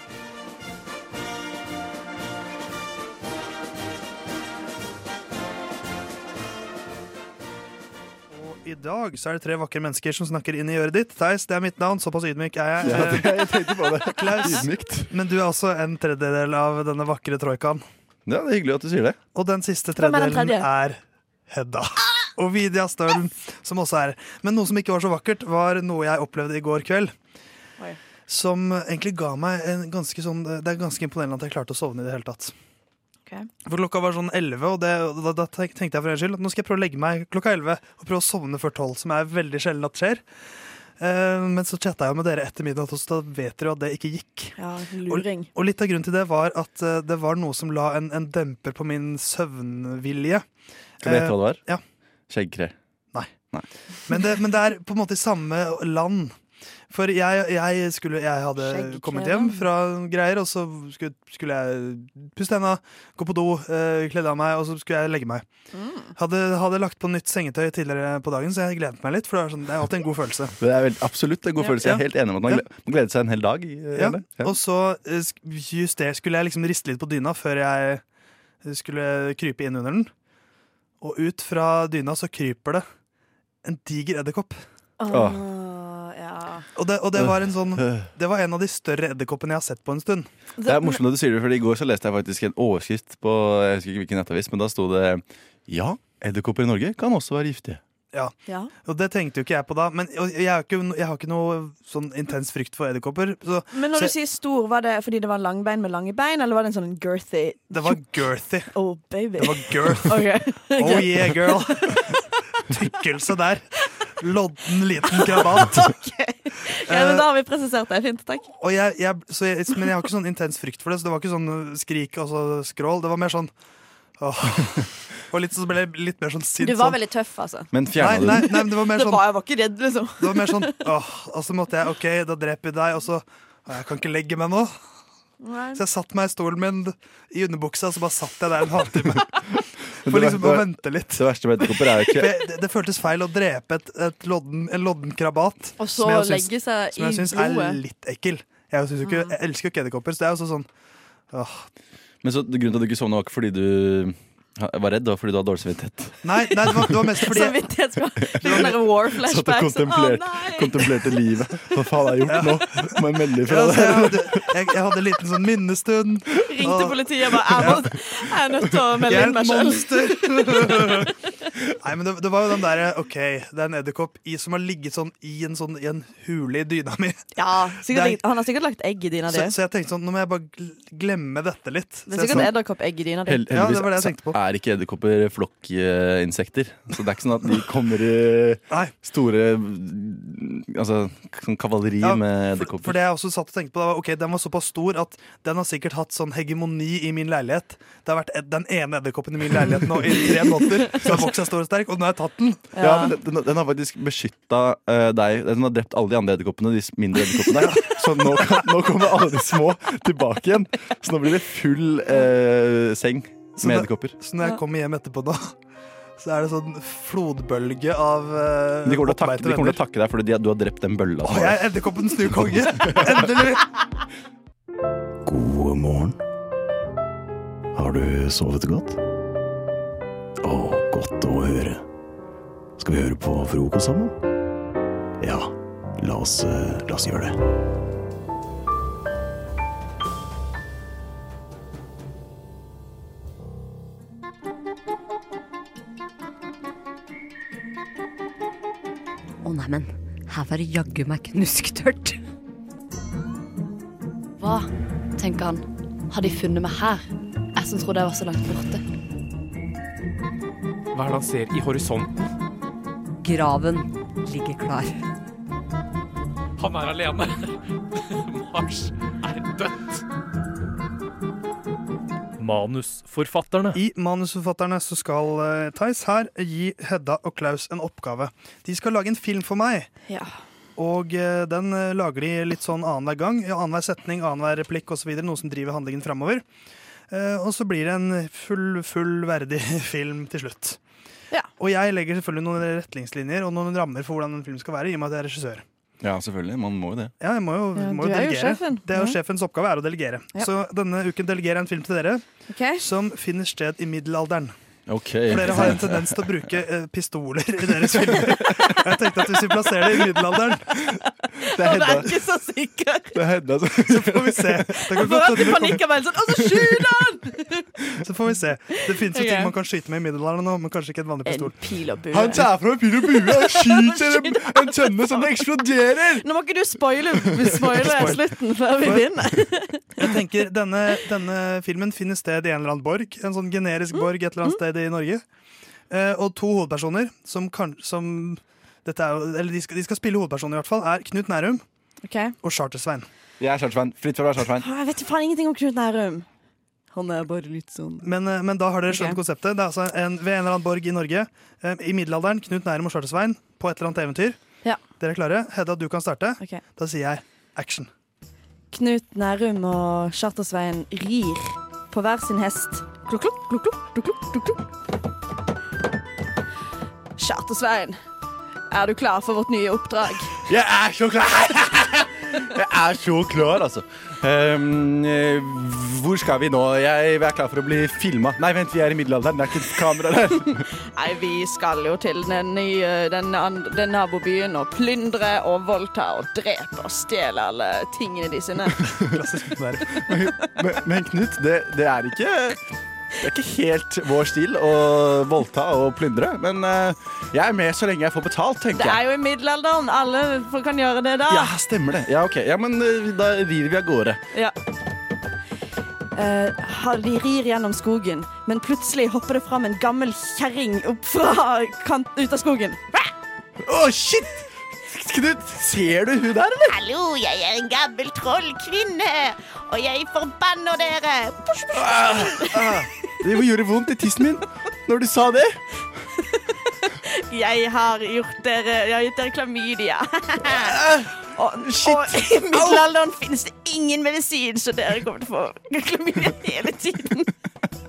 S20: Og i dag så er det tre vakre mennesker som snakker inn i øret ditt. Theis, det er mitt navn. Såpass ydmyk er jeg.
S7: Ja, det- jeg tenkte på det.
S20: Klaus,
S7: Ydmykt.
S20: men du er også en tredjedel av denne vakre troikaen.
S19: Ja, det er hyggelig at du sier det.
S20: Og den siste
S19: Hvem er den
S20: tredjedelen
S19: tredje?
S20: er Hedda. Og Vidja Stølen, som også er Men noe som ikke var så vakkert, var noe jeg opplevde i går kveld. Som egentlig ga meg en ganske sånn Det er ganske imponerende at jeg klarte å sovne i det hele tatt. For klokka var sånn 11, og, det, og da, da tenk- tenkte jeg for en skyld at nå skal jeg prøve å legge meg klokka 11 og prøve å sovne før 12, som er veldig sjelden at skjer. Eh, men så chatta jeg jo med dere etter midnatt, og så da vet dere jo at det ikke gikk.
S6: Ja,
S20: Og,
S6: luring.
S20: og litt av grunnen til det var at eh, det var noe som la en, en demper på min søvnvilje.
S19: Skal
S20: Eh,
S19: jeg vite hva det var?
S20: Ja.
S19: Skjeggkre.
S20: Men det, men det er på en måte i samme land. For jeg, jeg, skulle, jeg hadde kommet hjem fra greier, og så skulle, skulle jeg pusse tenna, gå på do, eh, kle av meg, og så skulle jeg legge meg. Hadde, hadde lagt på nytt sengetøy tidligere på dagen, så jeg gledet meg litt. For det er, sånn, det er alltid en god følelse.
S19: Det er vel, absolutt en god
S20: Ja.
S19: følelse. Jeg er helt enig om at man
S20: Ja.
S19: gleder, man gleder seg en hel dag. i, eh,
S20: Ja.
S19: det. Ja.
S20: Og så eh, sk- juster, skulle jeg liksom riste litt på dyna før jeg skulle krype inn under den. Og ut fra dyna så kryper det en diger edderkopp. Og, det, og det, var en sånn, det var en av de større edderkoppene jeg har sett på en stund.
S19: Det er morsomt at du sier det, for i går så leste jeg faktisk en overskrift på jeg husker ikke hvilken nettavis, men da sto det Ja, edderkopper i Norge kan også være giftige.
S20: Ja.
S6: Ja.
S20: Og det tenkte jo ikke jeg på da. Men og jeg, har ikke, jeg har ikke noe sånn intens frykt for edderkopper. så-
S6: Men når
S20: så
S6: du sier stor, var det fordi det var langbein med lange bein, eller var det en sånn girthy?
S20: Det var girthy.
S6: Oh, baby.
S20: Det var girth.
S6: Ok.
S20: Oh yeah, girl! Tykkelse der. Lodden liten krabat.
S6: Ja, men da har vi presisert det. Fint, takk.
S20: Og jeg, jeg, så jeg, men jeg har ikke sånn intens frykt for det, så det var ikke sånn uh, skrik og så skrål. Det var mer sånn åh. Og litt, så ble jeg litt mer sånn sint.
S6: Du var
S20: sånn.
S6: veldig tøff, altså.
S19: Men
S20: Nei,
S19: fjerna du
S20: nei,
S19: den?
S20: nei, men det var mer
S6: Det
S20: sånn
S6: var, jeg var ikke redd, liksom.
S20: Det var mer sånn åh, Og så måtte jeg OK, da dreper vi deg, og så «Å, Jeg kan ikke legge meg nå. Så jeg satte meg i stolen min i underbuksa, og så bare satt jeg der en halvtime.
S19: Men
S20: For
S19: det
S20: liksom
S19: ver-
S20: å
S19: det-
S20: vente litt.
S19: Det verste med edderkopper er jo
S20: For
S19: ikke
S20: jeg- Det, det føltes feil å drepe et, et lodden, en lodden krabat.
S6: Og så
S20: som jeg syns-
S6: legge seg
S20: Som jeg
S6: i
S20: syns er
S6: blodet.
S20: litt ekkel. Jeg, syns jo ikke, jeg elsker jo ikke edderkopper, så det er jo også sånn åh.
S19: Men så grunnen til at du ikke sovna, var ikke fordi du var redd, det var fordi du hadde dårlig samvittighet.
S20: Nei, nei det, var, det var mest fordi jeg,
S6: sånn
S19: Satt og kontemplerte, kontemplerte livet. Hva faen har jeg gjort nå? Må jeg melde ifra?
S20: altså, jeg,
S19: det?
S20: hadde, jeg, jeg hadde en liten sånn minnestund.
S6: Ringte politiet og bare jeg, må, jeg er nødt til å melde inn meg
S20: Jeg
S6: sjøl.
S20: Nei, men det, det var jo den derre OK, det er en edderkopp i- som har ligget sånn i en, sånn, i en hule i dyna mi.
S6: Ja,
S20: Det er-
S6: sikkert, ligget- han har sikkert lagt egg i dyna
S20: Så,
S6: di.
S20: så jeg tenkte sånn, nå må jeg bare gl- glemme dette litt.
S6: Det
S20: Så
S6: er
S20: jeg
S6: sikkert
S20: sånn-
S6: edderkoppegg i dyna di.
S19: Hell,
S20: Ja, det
S19: heldigvis
S20: var det jeg
S6: Ah.
S19: så er ikke edderkopper flokkinsekter. Så det er ikke sånn at de kommer i store Altså sånn kavaleri
S20: Ja,
S19: med
S20: For
S19: edderkopper.
S20: det jeg også satt og tenkte på da var, ok, Den var såpass stor at den har sikkert hatt sånn hegemoni i min leilighet. Det har vært ed den ene edderkoppen i min leilighet nå i tre måneder. Så har vokst seg stor og sterk, og nå har jeg tatt den.
S19: Ja, men den, den har faktisk beskytta deg. Den har drept alle de andre edderkoppene. De s- mindre edderkoppene Så nå, kan, nå kommer alle de små tilbake igjen. Så nå blir det full eh, seng
S20: Så
S19: med
S20: det-
S19: edderkopper.
S20: Så når jeg kommer hjem etterpå nå, så er det sånn flodbølge av eh,
S19: De kommer til å takke,
S20: oppbeite
S19: de kommer til
S20: venner.
S19: å takke deg fordi de, du har drept den bølla.
S20: Å, jeg er edderkoppens nye konge! Endelig!
S17: God morgen. Har du sovet godt? Å, godt å høre. Skal vi høre på frokost sammen? Ja, la oss, eh, la oss gjøre det.
S23: Å neimen, her var det jaggu meg knusktørt. Hva, tenker han, har de funnet meg her? Jeg som trodde jeg var så langt borte.
S24: Hva er det han ser i horisonten?
S23: Graven ligger klar.
S24: Han er alene. Mars er dødt.
S1: Manusforfatterne.
S20: I Manusforfatterne så skal uh, Theis her gi Hedda og Klaus en oppgave. De skal lage en film for meg.
S21: Ja.
S20: Og eh, den eh, lager de litt sånn annenhver gang. ja, Annenhver setning, annenhver replikk osv. Noe som driver handlingen framover. og så blir det en full, full verdig film til slutt. Og jeg legger selvfølgelig noen retningslinjer og noen rammer for hvordan en film skal være, i og med at jeg er regissør.
S19: Ja, selvfølgelig. Man må jo det.
S20: Ja, jeg må jo,
S21: Ja,
S20: må jo
S21: du er jo
S20: delegere.
S21: sjefen.
S20: Det er jo
S21: Ja.
S20: sjefens oppgave er å delegere.
S21: Ja.
S20: Så denne uken delegerer jeg en film til dere
S21: Ok.
S20: som finner sted i middelalderen.
S19: Ok.
S20: For dere har en tendens til å bruke eh, pistoler i deres filmer. Jeg tenkte at hvis vi plasserer det i middelalderen
S19: Det er Hedda.
S21: ikke så sikker.
S19: Det er Hedda som
S20: Så får vi se. Det kan
S21: Jeg får
S20: godt
S21: alltid
S20: hende vi
S21: panikk av meg. Sånn, og så skyter han!
S20: kommer- så får vi se. Det finnes jo
S21: Ok.
S20: ting man kan skyte med i middelalderen nå, men kanskje ikke en vanlig pistol.
S21: pil og bue.
S20: Han
S21: tar
S20: fra en pil og bue
S21: og skyter en-
S20: en tønne som eksploderer!
S21: Nå må ikke du spoile spoile
S20: Spoil.
S21: slutten før vi begynner.
S20: Jeg tenker, denne, denne filmen finner sted i en eller annen borg. En sånn
S21: Mm.
S20: generisk borg et eller annet sted i Norge. Eh, og to hovedpersoner som, kan, som dette er, jo- eller de, skal, de skal spille hovedpersoner, i hvert fall, er Knut Nærum og Charter-Svein.
S19: Jeg er Chartersvein. Fritt for å være Chartersvein.
S21: Å, Jeg vet jo faen ingenting om Knut Nærum. Han er bare litt sånn
S20: Men, eh, men da har dere skjønt
S21: Ok.
S20: konseptet. Det er altså en, ved en eller annen borg i Norge, eh, i middelalderen, Knut Nærum og Charter-Svein på et eller annet eventyr.
S21: Ja.
S20: Dere er klare? Hedda, du kan starte.
S21: Ok.
S20: Da sier jeg action.
S21: Knut Nærum og Chartersveien rir på hver sin hest. Klukk, klukk, klukk, klukk, klukk, klukk, klukk, klukk. Chartersveien, er du klar for vårt nye oppdrag?
S19: Jeg er så klar! Jeg er så klar, altså. Ehm, eh, hvor skal vi nå? Jeg er klar for å bli filma. Nei, vent, vi er i middelalderen. Det er ikke kamera der.
S21: Nei, vi skal jo til den nye den, and- den nabobyen og plyndre og voldta og drepe og stjele alle tingene de sine.
S19: Men, men Knut, det, det er ikke Det er ikke helt vår stil å voldta og plyndre. Men eh, jeg er med så lenge jeg får betalt,
S21: Det
S19: tenker
S21: er
S19: jeg.
S21: jo i middelalderen. Alle folk kan gjøre det da.
S19: Ja, stemmer det. Ja, ok. Ja, men eh, da rir vi av gårde.
S21: Ja. Eh, ha- de rir gjennom skogen, men plutselig hopper det fram en gammel kjerring opp fra kant ut av skogen.
S19: Å, shit! Knut, ser du hun der, eller?
S3: Hallo, jeg er en gammel trollkvinne, og jeg forbanner dere.
S19: Ah, ah, det gjorde vondt i tissen min når du sa det.
S21: Jeg har gjort dere Jeg har gitt dere klamydia.
S19: Ah,
S21: og, og i middelalderen finnes det ingen medisin, så dere kommer til å få klamydia hele tiden.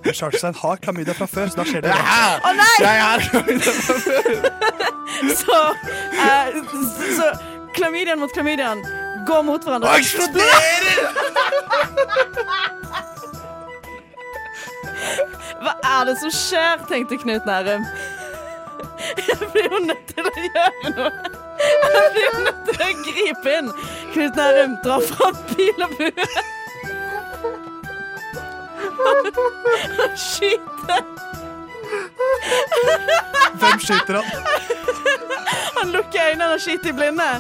S20: Charter-Svein har klamydia fra før, så da skjer det.
S21: Å nei! så, eh, så, så klamydiaen mot klamydiaen går mot hverandre.
S8: Og eksploderer!
S21: Hva er det som skjer, tenkte Knut Nærum. Jeg blir jo nødt til å gjøre noe. Jeg blir jo nødt til å gripe inn. Knut Nærum drar fram pil og bue. Og skyter.
S20: Hvem skyter han?
S21: Han lukker øynene og skyter i blinde.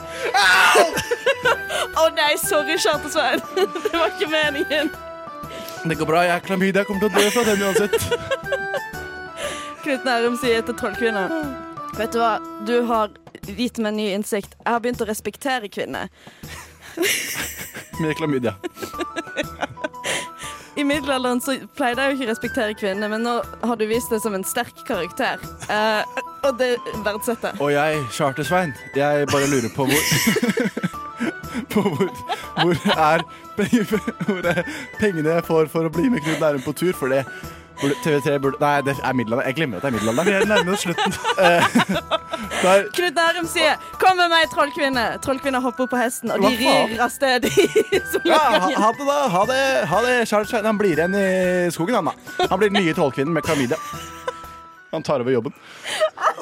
S21: Å nei, sorry, Charter-Svein. Det var ikke meningen.
S19: Det går bra, jeg er klamydia. Jeg kommer til å dø fra den uansett.
S21: Knut Nærum sier til trollkvinna Vet du hva, du har gitt meg ny innsikt. Jeg har begynt å respektere kvinner.
S19: Med klamydia.
S21: I middelalderen så pleide jeg jo ikke å respektere kvinner, men nå har du vist deg som en sterk karakter. Eh, og det verdsetter jeg.
S19: Og jeg, Charter-Svein, jeg bare lurer på hvor På hvor, hvor, er, hvor er pengene jeg får for å bli med Knut Nærum på tur? For det burde- TV3 burde Nei, det er middelalderen. Jeg glemmer at det er middelalderen. Eh,
S20: Vi er nærmere slutten.
S21: Knut Nærum sier 'Kom med meg, trollkvinne'. Trollkvinna hopper på hesten, og de
S19: Hva faen?
S21: rir av sted. i
S19: Ja, ha,
S21: solnedgangen.
S19: ha det, da. Ha det, ha det Charter-Svein. Han blir igjen i skogen, han da. Han blir den nye trollkvinnen med klamydia. Han tar over jobben.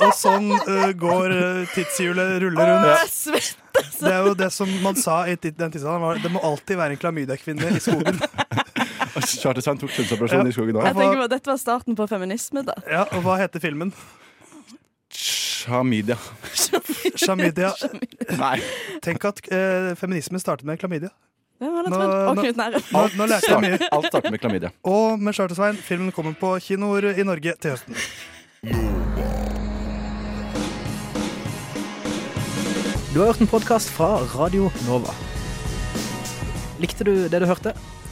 S20: Og sånn eh, går eh, tidshjulet ruller rundt.
S21: Åh, jeg svetter
S20: Det er jo det som man sa i tid- den tidsalderen, var det må alltid være en klamydia-kvinne i skogen.
S19: Charter-Svein tok kjønnsoperasjon i skogen
S21: Jeg tenker
S19: òg.
S21: på at Dette var starten på feminisme, da.
S20: Ja, og hva heter filmen?
S19: Chlamydia.
S20: Chlamydia.
S19: Nei.
S20: Tenk at eh, feminisme startet med klamydia.
S21: Hvem var det
S20: Nå-
S21: trodd? Og
S20: nå-
S21: Knut Nærum.
S20: Nå, nå lærte jeg mye.
S19: Alt starter med klamydia.
S20: Og med Charter-Svein, filmen kommer på kinoer i Norge til høsten.
S1: Du har hørt en podkast fra Radio Nova. Likte du det du hørte?